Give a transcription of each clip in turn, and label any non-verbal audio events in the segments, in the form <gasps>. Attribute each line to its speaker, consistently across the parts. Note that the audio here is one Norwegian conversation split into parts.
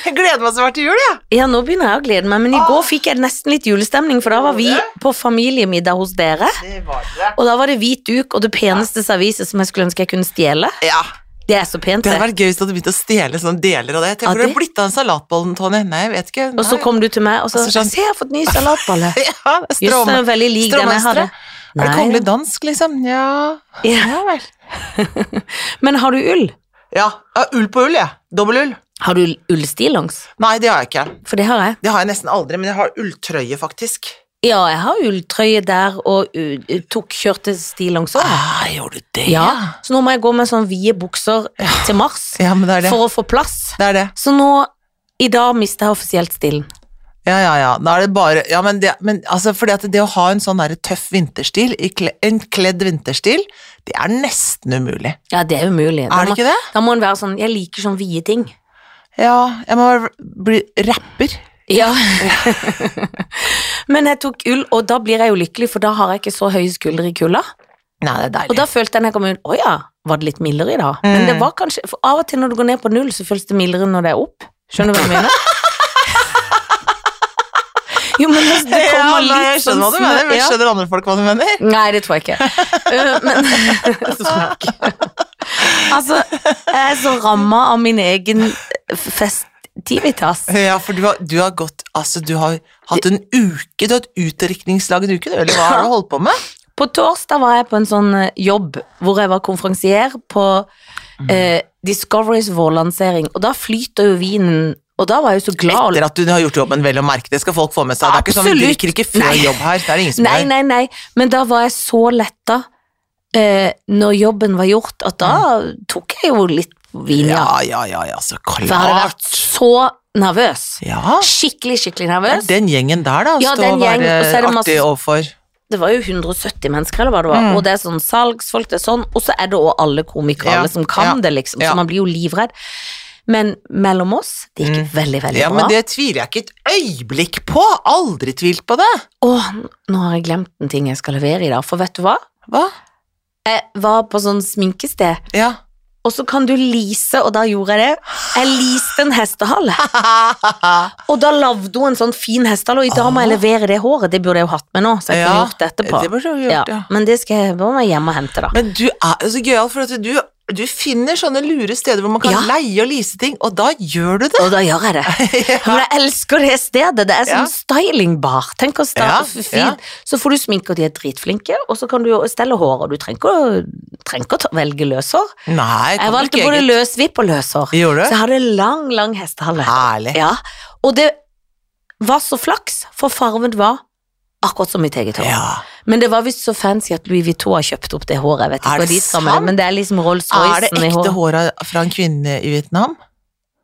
Speaker 1: Jeg gleder meg så fælt til jul, jeg.
Speaker 2: Ja, nå begynner jeg å glede meg, men i
Speaker 1: Åh.
Speaker 2: går fikk jeg nesten litt julestemning, for da var vi på familiemiddag hos dere.
Speaker 1: Det var det.
Speaker 2: Og da var det hvit duk og det peneste serviset som jeg skulle ønske jeg kunne stjele.
Speaker 1: Ja.
Speaker 2: Det er så
Speaker 1: Ah.
Speaker 2: pent,
Speaker 1: Det hadde
Speaker 2: det.
Speaker 1: vært gøy hvis du hadde begynt å stjele sånne deler av det. Tenk
Speaker 2: Ja,
Speaker 1: hvor det
Speaker 2: det-
Speaker 1: blitt av den salatbollen, Tony. Nei, jeg vet ikke.
Speaker 2: Og så
Speaker 1: Nei.
Speaker 2: kom du til meg og så
Speaker 1: Altså, sånn-
Speaker 2: Se, jeg har fått ny salatbolle.
Speaker 1: <laughs> ja, det er <laughs>
Speaker 2: Jøss,
Speaker 1: stråmann-
Speaker 2: den er veldig lik den jeg hadde.
Speaker 1: stråmønstre. Er det
Speaker 2: Nei.
Speaker 1: kongelig dansk, liksom? Ja.
Speaker 2: Ja.
Speaker 1: ja vel.
Speaker 2: Men har du ull?
Speaker 1: Ja, ja, ull på ull, jeg. Ja. Dobbel ull.
Speaker 2: Har du ullstillongs?
Speaker 1: Nei, det har jeg ikke.
Speaker 2: For det har jeg.
Speaker 1: Det har jeg nesten aldri, men jeg har ulltrøye, faktisk.
Speaker 2: Ja, jeg har ulltrøye der og u- u- tok kjørte stillongs òg.
Speaker 1: Ah, gjorde du det?
Speaker 2: Ja. Så nå må jeg gå med sånn vide bukser til mars
Speaker 1: Ja, men det er det.
Speaker 2: for å få plass.
Speaker 1: Det er det.
Speaker 2: Så nå i dag mister jeg offisielt stilen.
Speaker 1: Ja, ja, ja. Da er det bare Ja, men det, men, altså, fordi at det å ha en sånn der tøff vinterstil, i kle, en kledd vinterstil, det er nesten umulig.
Speaker 2: Ja, det er umulig. Da
Speaker 1: Er det
Speaker 2: må-
Speaker 1: ikke det?
Speaker 2: Da må en være sånn Jeg liker sånn vide ting.
Speaker 1: Ja, jeg må bare bli rapper.
Speaker 2: Ja. <laughs> Men jeg tok ull, og da blir jeg jo lykkelig, for da har jeg ikke så høye skuldre i kulda.
Speaker 1: Nei, det er deilig.
Speaker 2: Og da følte jeg når jeg kom ut, å ja, var det litt mildere i dag? Men
Speaker 1: Mm.
Speaker 2: det var kanskje, for av og til når du går ned på null, så føles det mildere enn når det er opp. Skjønner du hva jeg
Speaker 1: <laughs>
Speaker 2: mener? Jo, men altså, det
Speaker 1: ja,
Speaker 2: kommer
Speaker 1: nei, jeg
Speaker 2: litt
Speaker 1: skjønner hva du
Speaker 2: snø-
Speaker 1: mener. men
Speaker 2: ja.
Speaker 1: Skjønner andre folk hva du mener?
Speaker 2: Nei, det tror jeg
Speaker 1: <laughs>
Speaker 2: ikke. Uh, men Snakk. Altså, jeg er så ramma av min egen festivitas.
Speaker 1: Ja, for du har, du har gått Altså, du har hatt en uke, du har hatt utdrikningslag en uke, du, eller hva har du holdt på <laughs> med?
Speaker 2: På torsdag var jeg på en sånn eh, jobb hvor jeg var konferansier på
Speaker 1: Mm.
Speaker 2: eh, Discoverys vårlansering, og da flyter jo vinen, og da var jeg jo så glad.
Speaker 1: Etter at du har gjort jobben, vel å merke. Det skal folk få med seg. Det er ikke sånn, vi
Speaker 2: Absolutt.
Speaker 1: drikker ikke før
Speaker 2: Nei.
Speaker 1: jobb her. Det er det ingen som
Speaker 2: Nei,
Speaker 1: gjør.
Speaker 2: nei, nei, men da var jeg så letta eh, når jobben var gjort, at da tok jeg jo litt vin,
Speaker 1: Mm.
Speaker 2: ja.
Speaker 1: Ja, ja, ja, ja, så
Speaker 2: For jeg hadde
Speaker 1: klart.
Speaker 2: vært så nervøs.
Speaker 1: Ja.
Speaker 2: Skikkelig, skikkelig
Speaker 1: Det er
Speaker 2: nervøs.
Speaker 1: den gjengen der, da.
Speaker 2: Ja,
Speaker 1: stå
Speaker 2: den
Speaker 1: og være
Speaker 2: gjengen, og så er det masse-
Speaker 1: artig overfor.
Speaker 2: det var jo 170 mennesker, eller hva det var,
Speaker 1: Mm.
Speaker 2: og det er sånn salgsfolk, det er sånn, og så er det også alle komikere,
Speaker 1: Ja,
Speaker 2: alle som kan
Speaker 1: ja,
Speaker 2: det, liksom,
Speaker 1: ja.
Speaker 2: så man blir jo livredd. Men mellom oss, det gikk veldig, veldig
Speaker 1: Mm. Ja,
Speaker 2: bra.
Speaker 1: men det tviler jeg ikke et øyeblikk på. Aldri tvilt på det.
Speaker 2: Åh, nå har jeg glemt en ting jeg skal levere i dag, for vet du hva?
Speaker 1: Hva?
Speaker 2: Jeg var på sånn sminkested, <laughs>
Speaker 1: Ja.
Speaker 2: og så kan du lease, og da gjorde jeg det. Jeg leaste en
Speaker 1: <laughs>
Speaker 2: hestehale, og da lavde hun en sånn fin hestehale, og i dag må jeg levere det håret, det burde jeg jo hatt med nå, så jeg kunne
Speaker 1: Ja,
Speaker 2: gjort det etterpå.
Speaker 1: Det burde du
Speaker 2: ja.
Speaker 1: gjort, ja.
Speaker 2: Men det skal jeg bare hjemme og hente da.
Speaker 1: Men du er jo så gøyal, for at du, du finner sånne lure steder hvor man kan
Speaker 2: Ja.
Speaker 1: leie og lease ting, og da gjør du det.
Speaker 2: <laughs> Og da gjør
Speaker 1: <laughs>
Speaker 2: jeg det. Men jeg elsker det stedet. Det er
Speaker 1: Ja.
Speaker 2: sånn stylingbar. Tenk å
Speaker 1: Ja,
Speaker 2: starte fint.
Speaker 1: ja.
Speaker 2: Så får du sminke, og de er dritflinke, og så kan du jo stelle håret. og Du trenger ikke å- trenger ikke å ta- velge løshår.
Speaker 1: Nei,
Speaker 2: Jeg
Speaker 1: kan du
Speaker 2: valgte
Speaker 1: ikke
Speaker 2: både
Speaker 1: eget.
Speaker 2: løsvipp og løshår.
Speaker 1: Gjorde
Speaker 2: Så
Speaker 1: du?
Speaker 2: jeg hadde lang, lang hestehale.
Speaker 1: Herlig.
Speaker 2: Ja. Og det var så flaks, for fargen var akkurat som mitt eget hår.
Speaker 1: Ja.
Speaker 2: Men det var visst så fancy at Louis Vuitton har kjøpt opp det håret. Jeg vet ikke
Speaker 1: Er
Speaker 2: hva
Speaker 1: det
Speaker 2: de skal med det,
Speaker 1: sant?
Speaker 2: men det er
Speaker 1: Er
Speaker 2: liksom
Speaker 1: det
Speaker 2: Rolls-Roycen i
Speaker 1: ekte
Speaker 2: håret.
Speaker 1: hår av- fra en kvinne i Vietnam?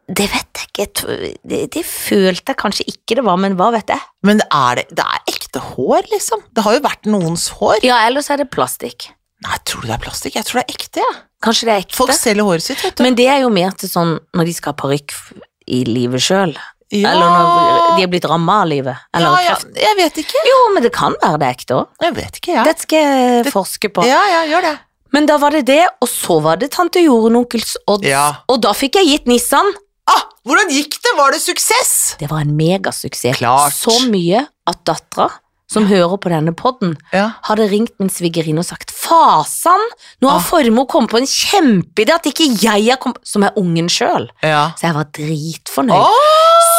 Speaker 2: Det vet jeg ikke. Jeg tror- Det, det følte jeg kanskje ikke det var, men hva vet jeg?
Speaker 1: Men er det, det er ekte hår, liksom. Det har jo vært noens hår.
Speaker 2: Ja, ellers er det plastikk.
Speaker 1: Nei, tror du det er plastikk? Jeg tror det er ekte, jeg.
Speaker 2: Kanskje det er ekte.
Speaker 1: Folk selger håret sitt, vet du.
Speaker 2: men det er jo mer til sånn når de skal ha parykk f- i livet sjøl.
Speaker 1: Ja.
Speaker 2: Eller når de er blitt ramma av livet. Eller
Speaker 1: ja, ja,
Speaker 2: kreft.
Speaker 1: jeg vet ikke.
Speaker 2: Jo, men det kan være det er ekte òg.
Speaker 1: Jeg vet ikke, jeg.
Speaker 2: Dette skal jeg forske på.
Speaker 1: Ja, ja, gjør det.
Speaker 2: Men da var det det, og så var det tante Jorunn onkels Odds.
Speaker 1: Ja.
Speaker 2: Og da fikk jeg gitt Nissan.
Speaker 1: Ah, hvordan gikk det? Var det suksess?
Speaker 2: Det var en megasuksess.
Speaker 1: Klart.
Speaker 2: Så mye at dattera, som hører på denne podden,
Speaker 1: Ja.
Speaker 2: hadde ringt min svigerinne og sagt Fasan, nå
Speaker 1: Ah.
Speaker 2: har formor kommet på en kjempeidé at ikke jeg har kommet Som er ungen sjøl.
Speaker 1: ja.
Speaker 2: Så jeg var dritfornøyd.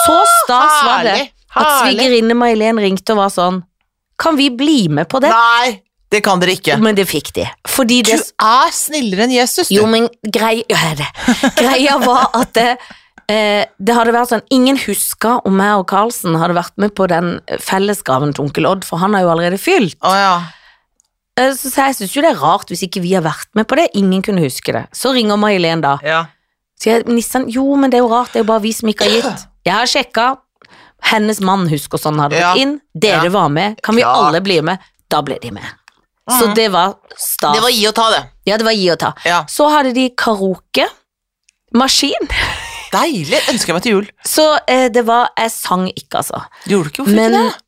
Speaker 2: så stas var det at svigerinne May-Helen ringte og var sånn Kan vi bli med på det?
Speaker 1: Nei, det kan dere ikke.
Speaker 2: Men det fikk de. Fordi
Speaker 1: Du
Speaker 2: det
Speaker 1: er snillere enn Jesus, du.
Speaker 2: Jo, men greia ja, jeg er det. Greia var at det, eh, det hadde vært sånn Ingen huska om meg og Karlsen hadde vært med på den fellesgraven til onkel Odd, for han har jo allerede fylt.
Speaker 1: Å ja.
Speaker 2: Eh, Så, så jeg syns jo det er rart hvis ikke vi har vært med på det. Ingen kunne huske det. Så ringer May-Helen da.
Speaker 1: ja.
Speaker 2: Sier jeg, Nissan, jo, men det er jo rart, det er jo bare vi som ikke har
Speaker 1: <clears throat>
Speaker 2: gitt. Jeg har sjekka. Hennes mann husker sånn hadde
Speaker 1: Ja.
Speaker 2: gått inn. Dere
Speaker 1: Ja.
Speaker 2: var med. Kan vi
Speaker 1: Klart.
Speaker 2: alle bli med? Da ble de med. Så
Speaker 1: Mhm.
Speaker 2: det var stas.
Speaker 1: Det var gi og ta, det.
Speaker 2: Ja, det var gi og ta.
Speaker 1: Ja.
Speaker 2: Så hadde de karaoke. Maskin.
Speaker 1: Deilig. Ønsker jeg meg til jul.
Speaker 2: Så eh, det var Jeg sang ikke, altså.
Speaker 1: Gjorde du ikke hvorfor
Speaker 2: Men-
Speaker 1: ikke det?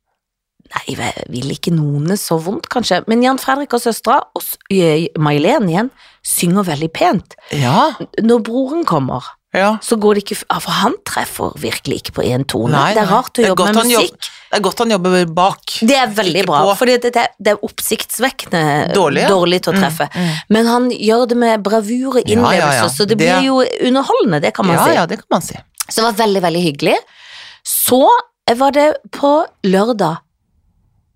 Speaker 2: Nei, jeg vil ikke noen det så vondt, kanskje. Men Jan Fredrik og søstera, og s- eh, May-Len igjen, synger veldig pent.
Speaker 1: Ja.
Speaker 2: Når broren kommer,
Speaker 1: Ja.
Speaker 2: så går det ikke f- ja, For han treffer virkelig ikke på én tone.
Speaker 1: Nei,
Speaker 2: det er
Speaker 1: nei.
Speaker 2: rart å
Speaker 1: Det er
Speaker 2: jobbe
Speaker 1: godt
Speaker 2: med
Speaker 1: han jobb-
Speaker 2: musikk.
Speaker 1: Det er godt han jobber bak.
Speaker 2: Det er veldig
Speaker 1: Ikke
Speaker 2: bra,
Speaker 1: på.
Speaker 2: for det, det, det er oppsiktsvekkende
Speaker 1: Dårlig,
Speaker 2: dårlig,
Speaker 1: ja. Mm.
Speaker 2: til å treffe. Men han gjør det med bravur og
Speaker 1: Ja, ja,
Speaker 2: innlevelse,
Speaker 1: ja.
Speaker 2: så
Speaker 1: Det-
Speaker 2: det blir jo underholdende, det kan man
Speaker 1: Ja,
Speaker 2: si.
Speaker 1: ja, det kan man si.
Speaker 2: Så det var veldig, veldig hyggelig. Så var det på lørdag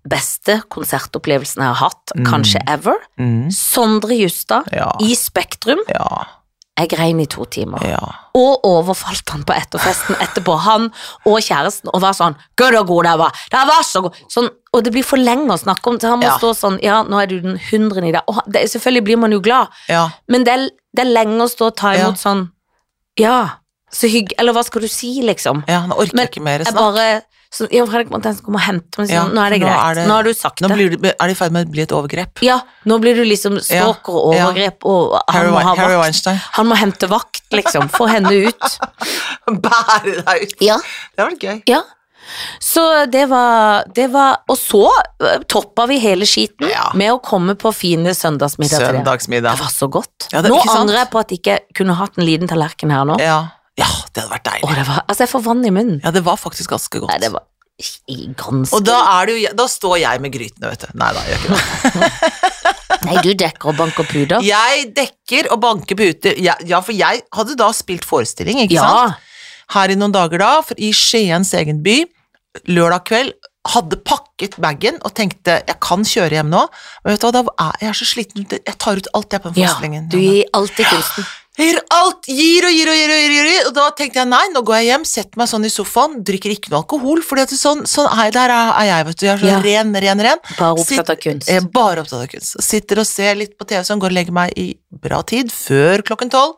Speaker 2: beste konsertopplevelsen jeg har hatt,
Speaker 1: Mm.
Speaker 2: kanskje ever.
Speaker 1: Mm.
Speaker 2: Sondre Justad
Speaker 1: Ja.
Speaker 2: i Spektrum.
Speaker 1: Ja.
Speaker 2: Jeg grein i to timer.
Speaker 1: Ja.
Speaker 2: Og overfalt han på etterfesten etterpå, han og kjæresten, og var sånn Gud og god, det var, det var så god. Sånn, og det blir for lenge å snakke om, så han må
Speaker 1: Ja.
Speaker 2: stå sånn Ja, nå er du den hundrede i dag. Og han- det, selvfølgelig blir man jo glad,
Speaker 1: ja.
Speaker 2: men det er, det er lenge å stå og ta
Speaker 1: Ja.
Speaker 2: imot sånn Ja, så hygg... Eller hva skal du si, liksom?
Speaker 1: ja han orker
Speaker 2: Men
Speaker 1: ikke mer
Speaker 2: Jeg
Speaker 1: snakk.
Speaker 2: bare sånn, Ja, Fredrik Monten skal komme og hente meg, sånn,
Speaker 1: Ja,
Speaker 2: nå er det
Speaker 1: nå
Speaker 2: greit.
Speaker 1: er det-
Speaker 2: nå har du sagt
Speaker 1: Nå
Speaker 2: det.
Speaker 1: blir det, er det i ferd med å bli et overgrep.
Speaker 2: Ja, nå blir du liksom stalker og
Speaker 1: ja.
Speaker 2: overgrep, og han
Speaker 1: Harry,
Speaker 2: må,
Speaker 1: Wein-
Speaker 2: ha
Speaker 1: Harry
Speaker 2: vakt. <laughs>
Speaker 1: Weinstein.
Speaker 2: han må hente vakt, liksom. Få henne ut.
Speaker 1: <laughs> Bære deg ut.
Speaker 2: Ja.
Speaker 1: Det var gøy.
Speaker 2: Ja. Så det var, det var Og så eh, toppa vi hele skiten
Speaker 1: Ja.
Speaker 2: med å komme på fine søndagsmiddager. til dere. Det
Speaker 1: Søndagsmiddag.
Speaker 2: var så godt.
Speaker 1: Ja, det-
Speaker 2: nå
Speaker 1: ikke sant?
Speaker 2: angrer jeg på at jeg ikke kunne hatt en liten tallerken her nå.
Speaker 1: Ja. ja, det hadde vært
Speaker 2: Å,
Speaker 1: deilig.
Speaker 2: det var, altså, jeg får vann i munnen.
Speaker 1: Ja, det var faktisk ganske godt.
Speaker 2: Nei, det var ganske
Speaker 1: Og da, er det jo, da står jeg med grytene, vet du. Nei da, jeg gjør ikke det.
Speaker 2: Nei, du dekker og banker puder.
Speaker 1: Jeg dekker og banker puter. Ja, ja, for jeg hadde da spilt forestilling, ikke
Speaker 2: Ja.
Speaker 1: sant? Her i noen dager da, for i Skiens egen by, lørdag kveld, hadde pakket baggen og tenkte jeg kan kjøre hjem nå. Men vet du hva, da er jeg er så sliten, jeg tar ut alt jeg på den
Speaker 2: ja.
Speaker 1: forestillingen.
Speaker 2: Du gir alltid kunsten.
Speaker 1: Gir alt, gir og gir og gir, og gir, og gir. Og da tenkte jeg nei, nå går jeg hjem, setter meg sånn i sofaen, drikker ikke noe alkohol. For sånn, sånn er, der er, er jeg, vet du. Jeg er så
Speaker 2: Ja.
Speaker 1: ren, ren, ren.
Speaker 2: Bare opptatt av
Speaker 1: Sitt-
Speaker 2: kunst.
Speaker 1: Jeg er bare opptatt av kunst. Sitter og ser litt på TV, sånn, går og legger meg i bra tid, før klokken tolv.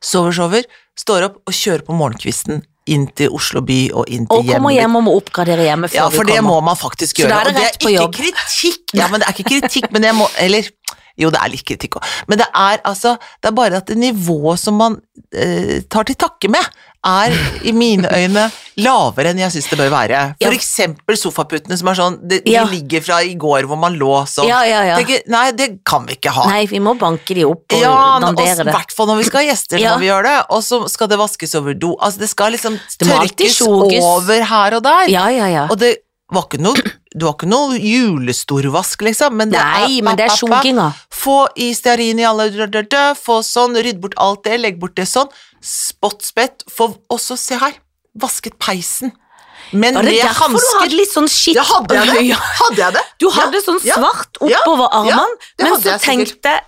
Speaker 1: Sover, sover. Står opp og kjører på morgenkvisten inn til Oslo by og inn til
Speaker 2: Og kommer
Speaker 1: hjemmet. mitt.
Speaker 2: hjem og må oppgradere hjemmet før
Speaker 1: Ja, for
Speaker 2: du
Speaker 1: det
Speaker 2: kommer.
Speaker 1: må man faktisk
Speaker 2: Så
Speaker 1: gjøre.
Speaker 2: da er det
Speaker 1: og det
Speaker 2: rett på
Speaker 1: er
Speaker 2: jobb.
Speaker 1: ikke kritikk. Ja, men det er ikke kritikk, men jeg må Eller jo, det er litt kritikk òg. Men det er altså Det er bare at det nivået som man eh, tar til takke med, er i mine øyne lavere enn jeg syns det bør være.
Speaker 2: Ja.
Speaker 1: For eksempel sofaputene som er sånn De, de
Speaker 2: Ja.
Speaker 1: ligger fra i går hvor man lå sånn.
Speaker 2: Ja, ja, ja.
Speaker 1: Tenker, nei, det kan vi ikke ha.
Speaker 2: Nei, vi må banke de opp og
Speaker 1: Ja, men
Speaker 2: dandere
Speaker 1: også, i
Speaker 2: det.
Speaker 1: hvert fall når vi skal ha gjester, så
Speaker 2: Ja.
Speaker 1: må vi gjøre det. Og så skal det vaskes over do. Altså, det skal liksom
Speaker 2: må alltid
Speaker 1: tørkes
Speaker 2: sjoges.
Speaker 1: over her og der.
Speaker 2: Ja, ja, ja.
Speaker 1: Og det var ikke noe Det var ikke noe julestorvask, liksom, men det
Speaker 2: Nei,
Speaker 1: er
Speaker 2: men det er
Speaker 1: pa, pa, pa.
Speaker 2: sjunkinga.
Speaker 1: Få i stearin i alle dø, dø, dø, Få sånn, rydd bort alt det, legg bort det sånn. Spott spett. Få også, se her, vasket peisen. Men
Speaker 2: Var det
Speaker 1: med
Speaker 2: derfor du
Speaker 1: hansker
Speaker 2: hadde litt sånn skitt
Speaker 1: Ja, hadde jeg det?
Speaker 2: <laughs> Ja.
Speaker 1: Hadde jeg det?
Speaker 2: Du hadde sånn
Speaker 1: ja,
Speaker 2: svart
Speaker 1: ja,
Speaker 2: oppover
Speaker 1: ja,
Speaker 2: armene,
Speaker 1: det
Speaker 2: men
Speaker 1: hadde
Speaker 2: så
Speaker 1: jeg sikkert.
Speaker 2: tenkte jeg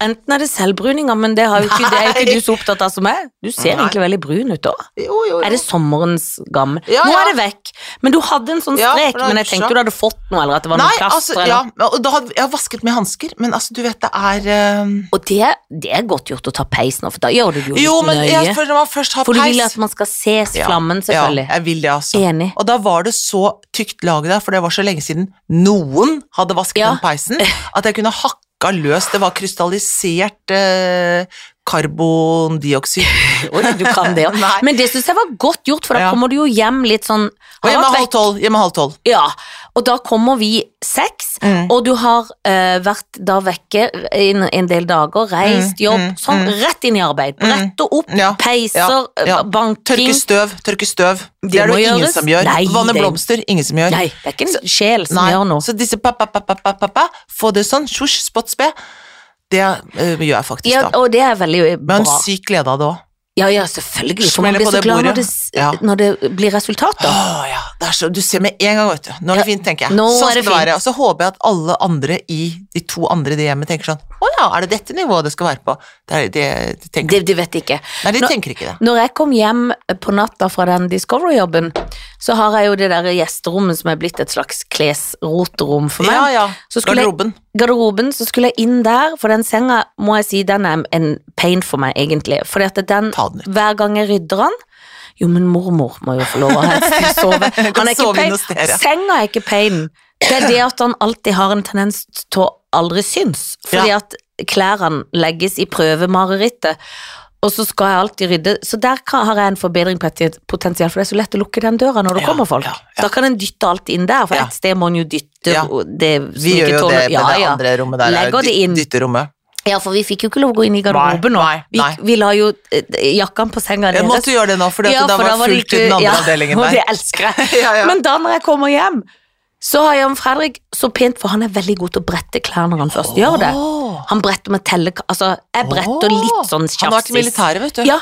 Speaker 2: Enten er det selvbruninga, men det, har jo ikke, det er jo ikke
Speaker 1: Nei.
Speaker 2: du så opptatt av som meg. Du ser
Speaker 1: Nei.
Speaker 2: egentlig veldig brun ut òg.
Speaker 1: Jo, jo, jo.
Speaker 2: Er det sommerens gammel?
Speaker 1: Ja,
Speaker 2: Nå
Speaker 1: ja.
Speaker 2: er det vekk, men du hadde en sånn
Speaker 1: Ja,
Speaker 2: strek.
Speaker 1: for det er
Speaker 2: men jeg tenkte
Speaker 1: dusja.
Speaker 2: du hadde fått noe, eller at det var
Speaker 1: Nei,
Speaker 2: noe plaster.
Speaker 1: altså,
Speaker 2: sånn eller-
Speaker 1: ja, og da hadde jeg har vasket med hansker, men altså, du vet, det er eh,
Speaker 2: Og det, det er godt gjort å ta peis nå, for da gjør du det jo litt
Speaker 1: Jo, men
Speaker 2: nøye.
Speaker 1: jeg, for når man først har
Speaker 2: for du vil
Speaker 1: peis
Speaker 2: at man skal se
Speaker 1: Ja,
Speaker 2: flammen, selvfølgelig.
Speaker 1: Ja, jeg vil det, altså.
Speaker 2: Enig.
Speaker 1: Og da var det så tykt lag der, for det var så lenge siden noen hadde vasket
Speaker 2: Ja.
Speaker 1: den peisen, at jeg kunne hakka løs. Det var krystallisert eh, karbondioksid.
Speaker 2: <laughs> Oi, du kan det òg.
Speaker 1: Nei.
Speaker 2: <laughs> Men det syns jeg var godt gjort, for
Speaker 1: Ja.
Speaker 2: da kommer du jo hjem litt sånn
Speaker 1: Og
Speaker 2: Har
Speaker 1: hjemme
Speaker 2: vært
Speaker 1: halv tolv. Hjemme halv tolv.
Speaker 2: Ja, og da kommer vi seks,
Speaker 1: Mm.
Speaker 2: og du har eh, vært da vekke en, en del dager, reist,
Speaker 1: Mm,
Speaker 2: jobb,
Speaker 1: mm,
Speaker 2: sånn rett inn i arbeid. Brette opp,
Speaker 1: Ja,
Speaker 2: peiser,
Speaker 1: ja, ja.
Speaker 2: eh, banking.
Speaker 1: Tørke støv, tørke støv. Det,
Speaker 2: Det
Speaker 1: er det
Speaker 2: må
Speaker 1: jo ingen
Speaker 2: gjøres.
Speaker 1: som gjør.
Speaker 2: Nei,
Speaker 1: Vanne
Speaker 2: det-
Speaker 1: blomster, ingen som gjør.
Speaker 2: Nei, det er ikke en sjel som
Speaker 1: Nei.
Speaker 2: gjør noe.
Speaker 1: Så disse pa, pa, pa, pa, pa, pa, pa, få det sånn, sjosj, spott, spe, det eh, gjør jeg faktisk
Speaker 2: Ja,
Speaker 1: da.
Speaker 2: og det er veldig bra.
Speaker 1: Men syk glede av det òg.
Speaker 2: Ja, ja, selvfølgelig. For
Speaker 1: Smeller
Speaker 2: man blir
Speaker 1: på
Speaker 2: så
Speaker 1: det
Speaker 2: glad når
Speaker 1: bordet.
Speaker 2: det, s-
Speaker 1: Ja.
Speaker 2: når det blir resultater.
Speaker 1: Åh, Ah, ja. det er så, du ser med en gang, vet du. Nå er det fint, tenker jeg.
Speaker 2: nå
Speaker 1: sånn
Speaker 2: er det
Speaker 1: skal det være. Og så håper jeg at alle andre i de to andre i det hjemmet tenker sånn Å ja, er det dette nivået det skal være på? Det er, det, de tenker,
Speaker 2: Det, de vet ikke.
Speaker 1: nei, de
Speaker 2: Nå-
Speaker 1: tenker ikke det.
Speaker 2: Når jeg kom hjem eh, på natta fra den Discovery-jobben, så har jeg jo det der gjesterommet som er blitt et slags klesroterom for meg.
Speaker 1: Ja, ja.
Speaker 2: Så skulle jeg-
Speaker 1: Garderoben.
Speaker 2: garderoben, så skulle jeg inn der, for den senga må jeg si, den er en pain for meg, egentlig. Fordi at den,
Speaker 1: Ta den ut.
Speaker 2: hver gang jeg rydder den Jo, men mormor må jo få lov å helst kunne sove.
Speaker 1: <laughs> Kan
Speaker 2: Han er ikke
Speaker 1: sove
Speaker 2: pain.
Speaker 1: inne hos dere.
Speaker 2: Senga er ikke pain. Det er det at han alltid har en tendens til å aldri synes. Fordi
Speaker 1: Ja.
Speaker 2: at klærne legges i prøvemarerittet. Og så skal jeg alltid rydde. Så der kan, har jeg en forbedring på et potensial, for det er så lett å lukke den døra når det
Speaker 1: Ja,
Speaker 2: kommer folk.
Speaker 1: ja, ja.
Speaker 2: Da kan en dytte alt inn der, for
Speaker 1: Ja.
Speaker 2: et sted må en jo dytte
Speaker 1: Ja.
Speaker 2: det som
Speaker 1: Vi
Speaker 2: ikke
Speaker 1: gjør jo det
Speaker 2: tåler-
Speaker 1: med det andre rommet der.
Speaker 2: Legger det
Speaker 1: dy-
Speaker 2: inn.
Speaker 1: Dytterommet.
Speaker 2: Ja, for vi fikk jo ikke lov å gå inn i garderoben nå.
Speaker 1: Nei,
Speaker 2: Vi,
Speaker 1: nei.
Speaker 2: vi la jo eh, jakkan på senga
Speaker 1: Jeg måtte gjøre det nå, fordi at
Speaker 2: Ja,
Speaker 1: det da
Speaker 2: for
Speaker 1: var
Speaker 2: det
Speaker 1: fullt i
Speaker 2: ikke-
Speaker 1: den andre
Speaker 2: ja,
Speaker 1: avdelingen
Speaker 2: <laughs> Og
Speaker 1: der.
Speaker 2: det elsker
Speaker 1: <laughs>
Speaker 2: jeg.
Speaker 1: Ja, ja.
Speaker 2: Men da når jeg kommer hjem, så har Jan Fredrik så pent, for han er veldig god til å brette klær når han først gjør det.
Speaker 1: Åh.
Speaker 2: Han bretter med telle... Altså, jeg bretter
Speaker 1: Åh.
Speaker 2: litt sånn
Speaker 1: Han har vært i
Speaker 2: tjafsis.
Speaker 1: militæret, vet du.
Speaker 2: Ja,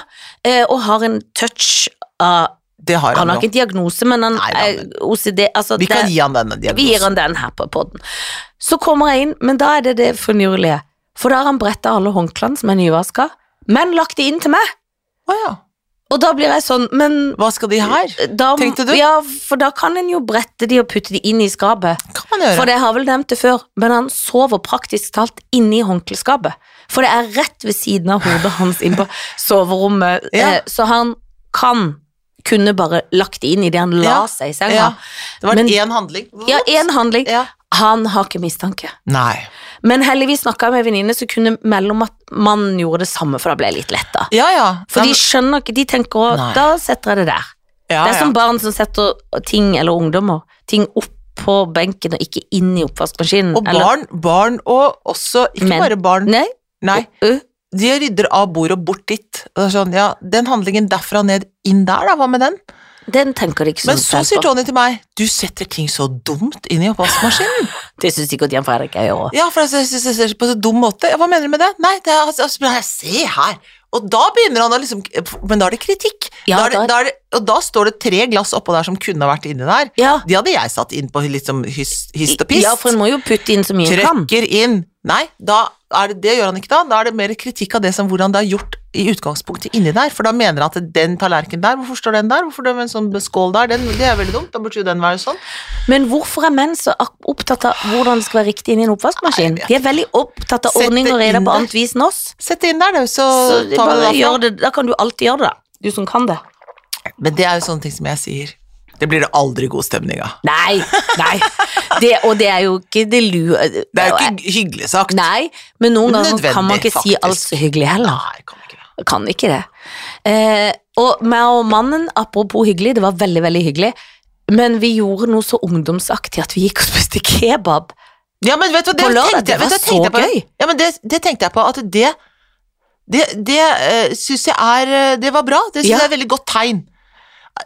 Speaker 2: eh, og har en touch av
Speaker 1: Det har
Speaker 2: Han
Speaker 1: han,
Speaker 2: har ikke
Speaker 1: nå.
Speaker 2: en diagnose, men han eh,
Speaker 1: Nei,
Speaker 2: er
Speaker 1: da,
Speaker 2: OCD. Altså,
Speaker 1: Vi kan
Speaker 2: det-
Speaker 1: gi han den diagnosen.
Speaker 2: vi gir han den her på podden. Så kommer jeg inn, men da er det det finurlige. For da har han bretta alle håndklærne som er nyvaska, men lagt de inn til meg.
Speaker 1: Å ja.
Speaker 2: Og da blir jeg sånn, men
Speaker 1: Hva skal de her?
Speaker 2: da,
Speaker 1: Tenkte du?
Speaker 2: Ja, for da kan en jo brette de og putte de inn i skapet.
Speaker 1: Kan man gjøre.
Speaker 2: For det jeg har vel nevnt det før, men han sover praktisk talt inni håndkleskapet. For det er rett ved siden av hodet hans
Speaker 1: <laughs>
Speaker 2: inn på soverommet.
Speaker 1: Ja.
Speaker 2: Eh, Så han kan kunne bare lagt det inn idet han la
Speaker 1: Ja.
Speaker 2: seg i senga.
Speaker 1: Ja. Det var
Speaker 2: Men-
Speaker 1: én handling.
Speaker 2: Ja, én handling.
Speaker 1: Ja.
Speaker 2: Han har ikke mistanke.
Speaker 1: Nei.
Speaker 2: Men heldigvis snakka jeg med en venninne som kunne melde om at mannen gjorde det samme, for da ble jeg litt letta.
Speaker 1: Ja, ja.
Speaker 2: For
Speaker 1: Nei,
Speaker 2: de skjønner ikke, de tenker òg
Speaker 1: Nei.
Speaker 2: Da setter jeg det der.
Speaker 1: ja,
Speaker 2: det er
Speaker 1: Ah, ja.
Speaker 2: som barn som setter ting, eller ungdommer, ting opp på benken og ikke inn i oppvaskmaskinen.
Speaker 1: Og
Speaker 2: eller-
Speaker 1: barn, barn og også Ikke
Speaker 2: Men-
Speaker 1: bare barn.
Speaker 2: Nei.
Speaker 1: Nei.
Speaker 2: Uh,
Speaker 1: De rydder av bordet og bort dit. Og det er sånn, ja, Den handlingen derfra ned, inn der, da. Hva med den?
Speaker 2: den tenker de ikke så
Speaker 1: Men så
Speaker 2: fælt
Speaker 1: sier
Speaker 2: på.
Speaker 1: Tony til meg Du setter ting så dumt inn i oppvaskmaskinen.
Speaker 2: <gasps> Det syns sikkert Jan Fredrik jeg gjør òg.
Speaker 1: ja, for jeg synes det ser på så dum måte. Ja, hva mener du med det? Nei, det er, altså, altså, nei, se her. Og da begynner han å liksom Men da er det kritikk.
Speaker 2: Ja,
Speaker 1: da er det,
Speaker 2: da-
Speaker 1: da er det, og da står det tre glass oppå der som kunne ha vært inni der.
Speaker 2: Ja.
Speaker 1: De hadde jeg satt inn på liksom hyst, hyst og pist.
Speaker 2: ja, for en må jo putte inn så mye en kan.
Speaker 1: Trøkker inn. Nei, da er det, det gjør han ikke da. Da er det mer kritikk av det som hvordan det er gjort i utgangspunktet inni der. For da mener han at den tallerkenen der, hvorfor står den der? Hvorfor det er en sånn skål der? Den, det er veldig dumt. Da burde jo den være sånn.
Speaker 2: Men hvorfor er menn så ak- opptatt av hvordan det skal være riktig inn i en oppvaskmaskin?
Speaker 1: Nei, jeg vet
Speaker 2: De er veldig opptatt av
Speaker 1: Sett det
Speaker 2: ordning og regler
Speaker 1: inn
Speaker 2: på
Speaker 1: der.
Speaker 2: annet vis enn oss.
Speaker 1: Sett det inn der, du, så,
Speaker 2: Så de
Speaker 1: tar vi
Speaker 2: bare
Speaker 1: det derfra.
Speaker 2: gjør det, da kan du alltid gjøre det, da. Du som kan det.
Speaker 1: Men det er jo sånne ting som jeg sier. Det blir det aldri god stemning av.
Speaker 2: Nei, nei. Det, og det er jo ikke det lue...
Speaker 1: Det er jo ikke hyggelig sagt.
Speaker 2: Nei, men noen ganger
Speaker 1: Nødvendig,
Speaker 2: kan man ikke si
Speaker 1: faktisk.
Speaker 2: alt så hyggelig heller.
Speaker 1: Nei, kan ikke det.
Speaker 2: Kan ikke det. Eh, og meg og mannen, apropos hyggelig, det var veldig, veldig hyggelig, men vi gjorde noe så ungdomsaktig at vi gikk og spiste kebab.
Speaker 1: Ja, men vet du hva, det
Speaker 2: På lørdag,
Speaker 1: tenkte jeg, vet du,
Speaker 2: det var
Speaker 1: jeg tenkte
Speaker 2: så
Speaker 1: jeg på,
Speaker 2: gøy.
Speaker 1: Ja, men det, det tenkte jeg på, at det, det, det syns jeg er, eh, det var bra, det synes
Speaker 2: Ja.
Speaker 1: jeg er et veldig godt tegn.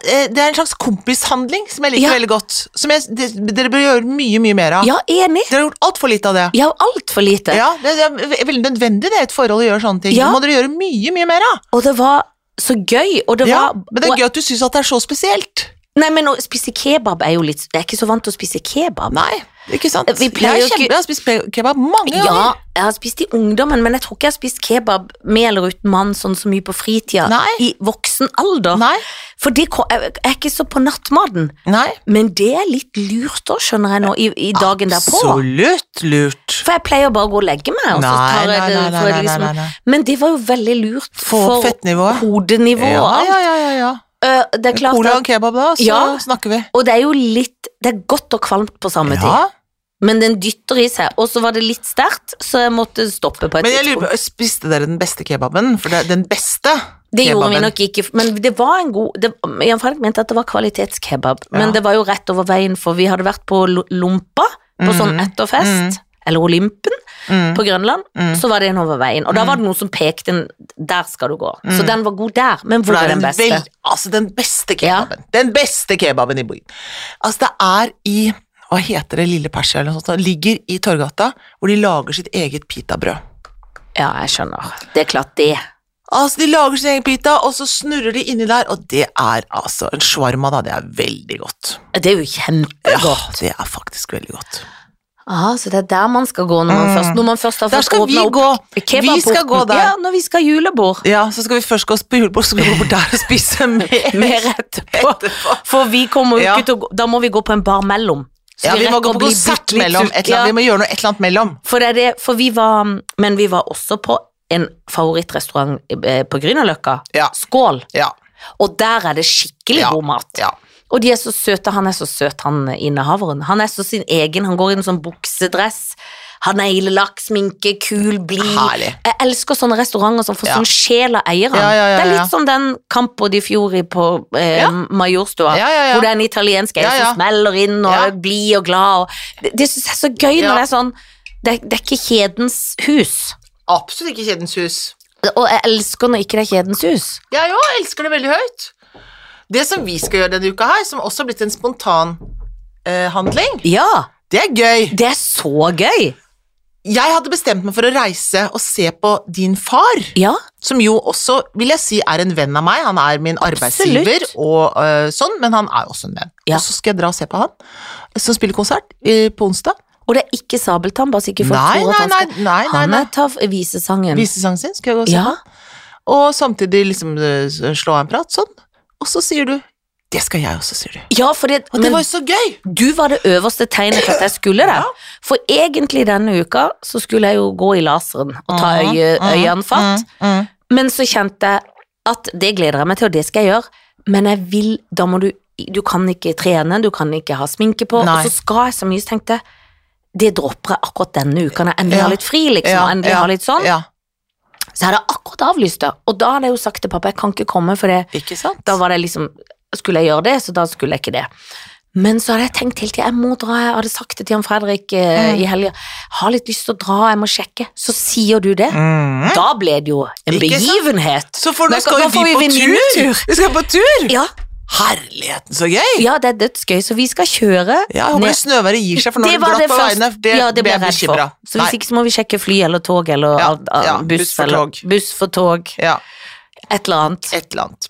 Speaker 1: Eh, Det er en slags kompishandling som jeg liker
Speaker 2: Ja.
Speaker 1: veldig godt, som jeg, det, dere bør gjøre mye, mye mer av.
Speaker 2: Ja, enig.
Speaker 1: Dere har gjort altfor lite av det.
Speaker 2: Ja, altfor lite.
Speaker 1: Ah. Ja, det, det er ve- veldig nødvendig det, i et forhold å gjøre sånne ting.
Speaker 2: Ja.
Speaker 1: Det må dere gjøre mye, mye mer av.
Speaker 2: Og det var så gøy, og det
Speaker 1: Ja,
Speaker 2: var
Speaker 1: men det er gøy at du syns at det er så spesielt.
Speaker 2: Nei, men å spise kebab er jo litt Jeg er ikke så vant til å spise kebab.
Speaker 1: Nei, ikke sant?
Speaker 2: Vi pleier
Speaker 1: jeg
Speaker 2: jo
Speaker 1: er kjempe,
Speaker 2: ikke-
Speaker 1: jeg har spist pe- kebab mange ganger.
Speaker 2: Ja, jeg har spist i ungdommen, men jeg tror ikke jeg har spist kebab med eller uten mann sånn så mye på fritida.
Speaker 1: Nei.
Speaker 2: I voksen alder.
Speaker 1: Nei,
Speaker 2: For det ko- jeg jeg er ikke så på nattmaten.
Speaker 1: nei.
Speaker 2: Men det er litt lurt òg, skjønner jeg nå, i, i dagen derpå.
Speaker 1: Absolutt lurt.
Speaker 2: For jeg pleier bare å gå og legge meg. Og så
Speaker 1: Nei,
Speaker 2: tar jeg
Speaker 1: nei,
Speaker 2: det,
Speaker 1: nei, nei,
Speaker 2: for
Speaker 1: nei,
Speaker 2: liksom,
Speaker 1: nei, nei.
Speaker 2: Men det var jo veldig lurt
Speaker 1: Få opp
Speaker 2: for
Speaker 1: fettnivået.
Speaker 2: hodenivået. og
Speaker 1: Ja,
Speaker 2: alt.
Speaker 1: ja, ja, ja, ja.
Speaker 2: Eh, Det er klart
Speaker 1: Cola og
Speaker 2: at,
Speaker 1: kebab, da, så
Speaker 2: Ja.
Speaker 1: snakker vi.
Speaker 2: og det er jo litt Det er godt og kvalmt på samme tid.
Speaker 1: Ja.
Speaker 2: Men den dytter i seg, og så var det litt sterkt, så jeg måtte stoppe på et
Speaker 1: Men jeg
Speaker 2: tidspunkt.
Speaker 1: lurer på, spiste dere den beste kebaben? For det er den beste
Speaker 2: Det gjorde vi
Speaker 1: kebaben.
Speaker 2: nok ikke, men det var en god det, Jan Fredrik mente at det var kvalitetskebab, men
Speaker 1: Ja.
Speaker 2: det var jo rett over veien, for vi hadde vært på Lo- Lompa, på sånn etterfest, eller Olympen,
Speaker 1: Mm.
Speaker 2: på Grønland, så var det en over veien, og da var det noen som pekte en, der skal du gå. Så den var god der, men
Speaker 1: Mm. For
Speaker 2: hvor
Speaker 1: det
Speaker 2: er
Speaker 1: er
Speaker 2: den
Speaker 1: en
Speaker 2: beste?
Speaker 1: vel, altså den beste kebaben. Den beste kebaben i byen. Altså, det er i Hva heter det, Lille Persia eller noe sånt? Det ligger i Torgata, hvor de lager sitt eget pitabrød.
Speaker 2: Ja, jeg skjønner. Det er klart det.
Speaker 1: Altså, de lager sin egen pita, og så snurrer de inni der, og det er altså En shawarma, da, det er veldig godt.
Speaker 2: Det er jo kjempegodt.
Speaker 1: Ja, det er faktisk veldig godt.
Speaker 2: Ah, så det er der man skal gå når man
Speaker 1: Mm.
Speaker 2: først, når man først har
Speaker 1: Der
Speaker 2: fått
Speaker 1: skal vi
Speaker 2: åpnet opp
Speaker 1: gå.
Speaker 2: kebabporten.
Speaker 1: Vi skal gå der.
Speaker 2: Ja, når vi skal ha julebord.
Speaker 1: Ja, så skal vi først gå på julebord, så skal vi gå bort der og <laughs> spise mer.
Speaker 2: Mer etterpå.
Speaker 1: etterpå.
Speaker 2: For vi kommer jo
Speaker 1: Ja.
Speaker 2: ikke til å gå Da må vi gå på en bar mellom. Så
Speaker 1: Ja, vi må
Speaker 2: rekker
Speaker 1: gå
Speaker 2: å
Speaker 1: på
Speaker 2: bli
Speaker 1: konsert
Speaker 2: bitte litt
Speaker 1: mellom.
Speaker 2: sultne.
Speaker 1: Et eller annet. Vi
Speaker 2: Ja,
Speaker 1: må gjøre noe et eller annet mellom.
Speaker 2: for, det er det, for vi var Men vi var også på en favorittrestaurant eh, på Grünerløkka.
Speaker 1: Ja.
Speaker 2: Skål.
Speaker 1: Ja.
Speaker 2: Og der er det skikkelig
Speaker 1: Ja,
Speaker 2: god mat.
Speaker 1: ja.
Speaker 2: Og de er så søte. Han er så søt, han eh, innehaveren. Han er så sin egen. Han går i en sånn buksedress. Han er ildelagt sminke, kul, blid.
Speaker 1: Herlig.
Speaker 2: Jeg elsker sånne restauranter som får
Speaker 1: Ja.
Speaker 2: sånn sjel av eieren.
Speaker 1: Ja, ja, ja,
Speaker 2: Det er
Speaker 1: ja.
Speaker 2: litt som den Campo di Fiori på eh,
Speaker 1: Ja.
Speaker 2: Majorstua,
Speaker 1: Ja, ja, ja.
Speaker 2: hvor det er en italiensk eier
Speaker 1: Ja, ja.
Speaker 2: som smeller inn og
Speaker 1: Ja.
Speaker 2: er blid og glad. Og det det syns jeg er så gøy
Speaker 1: Ja.
Speaker 2: når det er sånn det, er- det er ikke kjedens hus.
Speaker 1: Absolutt ikke Kjedens hus.
Speaker 2: Og jeg elsker når ikke det er Kjedens hus.
Speaker 1: Jeg òg elsker det veldig høyt. Det som vi skal gjøre denne uka her, som også har blitt en spontan eh, handling,
Speaker 2: Ja,
Speaker 1: det er gøy.
Speaker 2: det er så gøy!
Speaker 1: Jeg hadde bestemt meg for å reise og se på din far,
Speaker 2: Ja,
Speaker 1: som jo også, vil jeg si, er en venn av meg. Han er min arbeidsgiver
Speaker 2: Absolutt.
Speaker 1: og eh, sånn, men han er også en venn.
Speaker 2: Ja.
Speaker 1: Og så skal jeg dra og se på han, som spiller konsert eh, på onsdag.
Speaker 2: Og det er ikke sabeltann, bare så ikke folk
Speaker 1: Nei,
Speaker 2: tror
Speaker 1: nei,
Speaker 2: at han
Speaker 1: nei, nei,
Speaker 2: skal
Speaker 1: nei,
Speaker 2: Han
Speaker 1: nei.
Speaker 2: er tav visesangen.
Speaker 1: Visesangen sin skal jeg gå og se
Speaker 2: Ja,
Speaker 1: på. Og samtidig liksom eh, slå av en prat, sånn. Og så sier du 'Det skal jeg også', sier du.
Speaker 2: ja fordi
Speaker 1: Og det
Speaker 2: men
Speaker 1: var jo så gøy!
Speaker 2: du var det øverste tegnet for at jeg skulle det.
Speaker 1: Ja.
Speaker 2: For egentlig denne uka så skulle jeg jo gå i laseren og ta
Speaker 1: Mhm,
Speaker 2: øye,
Speaker 1: mhm,
Speaker 2: øyeanfatt,
Speaker 1: Mm, mm.
Speaker 2: men så kjente jeg at det gleder jeg meg til, og det skal jeg gjøre, men jeg vil, da må du Du kan ikke trene, du kan ikke ha sminke på,
Speaker 1: Nei.
Speaker 2: og så skal jeg så mye, så tenkte jeg. Det dropper jeg akkurat denne uka, når jeg endelig
Speaker 1: Ja.
Speaker 2: har litt fri, liksom, og endelig har litt sånn.
Speaker 1: Ja,
Speaker 2: Så hadde jeg akkurat avlyst det, og da hadde jeg jo sagt til pappa, jeg kan ikke komme, for det
Speaker 1: ikke sant?
Speaker 2: da var det liksom Skulle jeg gjøre det, så da skulle jeg ikke det. Men så hadde jeg tenkt hele tiden, jeg må dra, jeg hadde sagt det til han Fredrik eh,
Speaker 1: Mm.
Speaker 2: i helga. Jeg Har litt lyst til å dra, jeg må sjekke. Så sier du det.
Speaker 1: Mm.
Speaker 2: Da ble det jo en
Speaker 1: Ikke sant?
Speaker 2: begivenhet.
Speaker 1: Så for
Speaker 2: Men
Speaker 1: nå skal
Speaker 2: nå
Speaker 1: jo vi
Speaker 2: får vi
Speaker 1: på
Speaker 2: venninnetur.
Speaker 1: tur! Vi skal på tur!
Speaker 2: Ja,
Speaker 1: Herligheten, så gøy!
Speaker 2: ja, det er dødsgøy, så vi skal kjøre.
Speaker 1: Ja, jeg håper
Speaker 2: ned-
Speaker 1: det snøværet gir seg, for nå er det
Speaker 2: var
Speaker 1: glatt på
Speaker 2: først-
Speaker 1: veiene. Det,
Speaker 2: ja,
Speaker 1: ble
Speaker 2: det ble
Speaker 1: jeg
Speaker 2: jeg redd for.
Speaker 1: bekymra.
Speaker 2: Så hvis
Speaker 1: Nei.
Speaker 2: ikke så må vi sjekke fly eller tog eller
Speaker 1: Ja,
Speaker 2: ah,
Speaker 1: ja,
Speaker 2: buss,
Speaker 1: buss for
Speaker 2: eller
Speaker 1: tog.
Speaker 2: buss for tog.
Speaker 1: Ja,
Speaker 2: Et eller annet.
Speaker 1: et eller annet.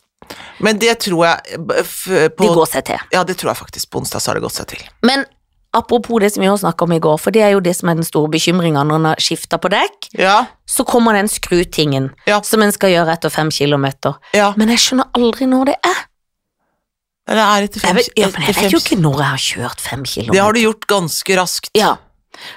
Speaker 1: Men det tror jeg b- f- på,
Speaker 2: De går seg til.
Speaker 1: Ja, det tror jeg faktisk. På onsdag så har det gått seg til.
Speaker 2: Men apropos det som vi også snakket om i går, for det er jo det som er den store bekymringen når en har skiftet på dekk,
Speaker 1: Ja,
Speaker 2: så kommer den skrutingen
Speaker 1: Ja.
Speaker 2: som en skal gjøre etter fem kilometer.
Speaker 1: ja.
Speaker 2: Men jeg skjønner aldri når det er.
Speaker 1: Det er etter
Speaker 2: Jeg
Speaker 1: fem,
Speaker 2: vet, ja, men jeg
Speaker 1: etter
Speaker 2: vet jo
Speaker 1: fem-
Speaker 2: ikke når jeg har kjørt fem kilometer.
Speaker 1: Det har du gjort ganske raskt.
Speaker 2: Ja.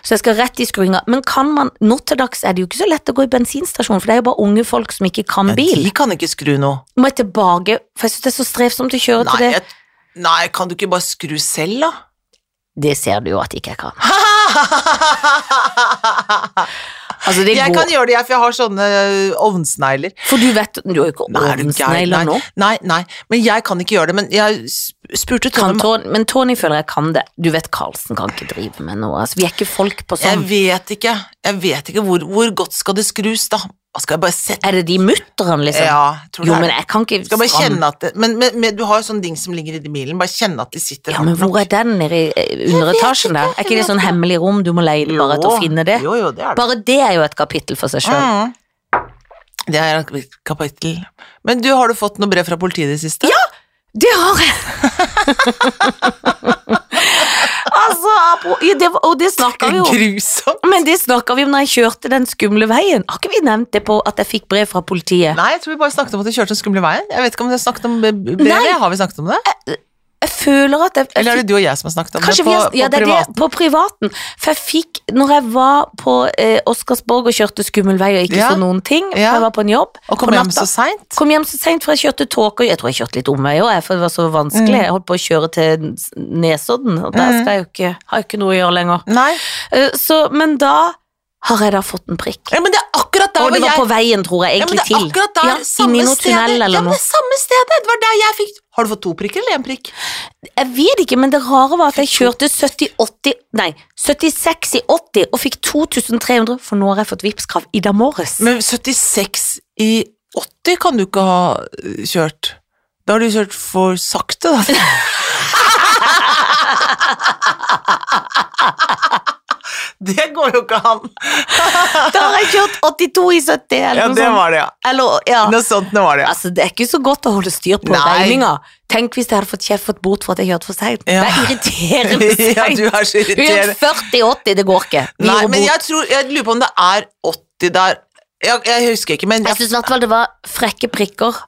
Speaker 2: Så jeg skal rett i skruinga. Men kan man, nå til dags er det jo ikke så lett å gå i bensinstasjon, for det er jo bare unge folk som ikke kan
Speaker 1: Men
Speaker 2: bil.
Speaker 1: de kan ikke skru noe.
Speaker 2: Må jeg tilbake, for jeg synes det er så strevsomt å kjøre
Speaker 1: Nei,
Speaker 2: til det.
Speaker 1: jeg, nei, kan du ikke bare skru selv, da?
Speaker 2: Det ser du jo at ikke jeg kan. Altså, det
Speaker 1: jeg
Speaker 2: går.
Speaker 1: kan gjøre det, jeg, for jeg har sånne øh, ovnsnegler.
Speaker 2: For du vet, du har jo ikke
Speaker 1: Nei, er du gæren?
Speaker 2: ovensnegler nå.
Speaker 1: Nei, nei, nei, men jeg kan ikke gjøre det. Men jeg s- spurte
Speaker 2: kan
Speaker 1: Tone
Speaker 2: Tony, men Tony føler jeg kan det. Du vet Karlsen kan ikke drive med noe. Altså, vi er ikke folk på
Speaker 1: Jeg
Speaker 2: sånn.
Speaker 1: vet ikke. Jeg vet ikke hvor, hvor godt skal det skrus, da? Hva Skal jeg bare sette
Speaker 2: Er det de mutterne, liksom?
Speaker 1: Ja, tror du det
Speaker 2: jo,
Speaker 1: er
Speaker 2: men
Speaker 1: det?
Speaker 2: jeg kan ikke
Speaker 1: Skal bare
Speaker 2: stram-
Speaker 1: kjenne at det, men, men, men du har jo sånn ding som ligger i bilen, bare kjenne at de sitter sånn.
Speaker 2: Ja, men
Speaker 1: hardt nok.
Speaker 2: hvor er den nede i eh, underetasjen der? Er ikke det sånn hemmelig rom du må leie bare etter å
Speaker 1: Jo,
Speaker 2: finne det?
Speaker 1: Jo, jo, det er det.
Speaker 2: Bare det er jo et kapittel for seg sjøl.
Speaker 1: Mm. Det er et kapittel. Men du, har du fått noe brev fra politiet i det siste? Ja!
Speaker 2: Det har <laughs> jeg! altså, apro- ja, det, var- og det snakka vi jo om.
Speaker 1: Grusomt!
Speaker 2: Men det snakka vi om når jeg kjørte den skumle veien. Har ikke vi nevnt det på at jeg fikk brev fra politiet?
Speaker 1: Nei, jeg tror vi bare snakket om at du kjørte den skumle veien. Jeg vet ikke om vi har snakket om b- b-
Speaker 2: Nei.
Speaker 1: brevet. Har vi snakket om det?
Speaker 2: Jeg føler at jeg, jeg
Speaker 1: Eller er det du og jeg som har snakket om
Speaker 2: Kanskje
Speaker 1: det på,
Speaker 2: vi har, ja,
Speaker 1: på
Speaker 2: det er
Speaker 1: privat?
Speaker 2: det, på privaten. For jeg fikk, når jeg var på eh, Oscarsborg og kjørte skummel vei og ikke
Speaker 1: Ja.
Speaker 2: så noen ting, for
Speaker 1: Ja.
Speaker 2: jeg var på en jobb
Speaker 1: Og kom
Speaker 2: på
Speaker 1: hjem
Speaker 2: natta.
Speaker 1: så seint?
Speaker 2: Kom hjem så sent, for jeg kjørte tåke, og jeg tror jeg kjørte litt omvei òg, for det var så vanskelig. Jeg holdt på å kjøre til Nesodden, og der
Speaker 1: Mm.
Speaker 2: skal jeg jo ikke, har jeg ikke noe å gjøre lenger.
Speaker 1: Nei.
Speaker 2: Eh, så, men da har jeg da fått en prikk.
Speaker 1: Ja, men det er akkurat der
Speaker 2: og det
Speaker 1: hvor
Speaker 2: var
Speaker 1: jeg
Speaker 2: på veien, tror jeg,
Speaker 1: ja, men det
Speaker 2: egentlig
Speaker 1: er
Speaker 2: til.
Speaker 1: akkurat der,
Speaker 2: Ja,
Speaker 1: samme
Speaker 2: inni noe
Speaker 1: stedet.
Speaker 2: tunnel
Speaker 1: ja,
Speaker 2: eller
Speaker 1: men
Speaker 2: noe.
Speaker 1: det er samme stedet! Det var der jeg fikk Har du fått to prikker eller én prikk?
Speaker 2: Jeg vet ikke, men det rare var at jeg kjørte 70-80 Nei, 76 i 80 og fikk 2300, for nå har jeg fått Vipps-krav i dag morges.
Speaker 1: Men 76 i 80 kan du ikke ha øh, kjørt. Da har du kjørt for sakte, da. <laughs> Det går jo ikke an!
Speaker 2: Da har jeg kjørt 82 i 70, eller
Speaker 1: Ja,
Speaker 2: noe
Speaker 1: det
Speaker 2: sånt.
Speaker 1: var det, ja.
Speaker 2: Eller, ja.
Speaker 1: Noe sånt nå var det, ja.
Speaker 2: Altså, det er ikke så godt å holde styr på
Speaker 1: Nei.
Speaker 2: regninga. Tenk hvis jeg hadde fått kjeft fått bot for at jeg kjørte for seint.
Speaker 1: Ja.
Speaker 2: Det er
Speaker 1: <laughs>
Speaker 2: irriterende
Speaker 1: Ja,
Speaker 2: seint.
Speaker 1: du er så irriterende.
Speaker 2: 40-80, det går ikke. Vi
Speaker 1: Nei,
Speaker 2: gir
Speaker 1: men
Speaker 2: bot.
Speaker 1: jeg tror Jeg lurer på om det er 80 der. Jeg, jeg husker ikke, men
Speaker 2: Jeg
Speaker 1: jeg,
Speaker 2: syns i hvert fall det var frekke prikker.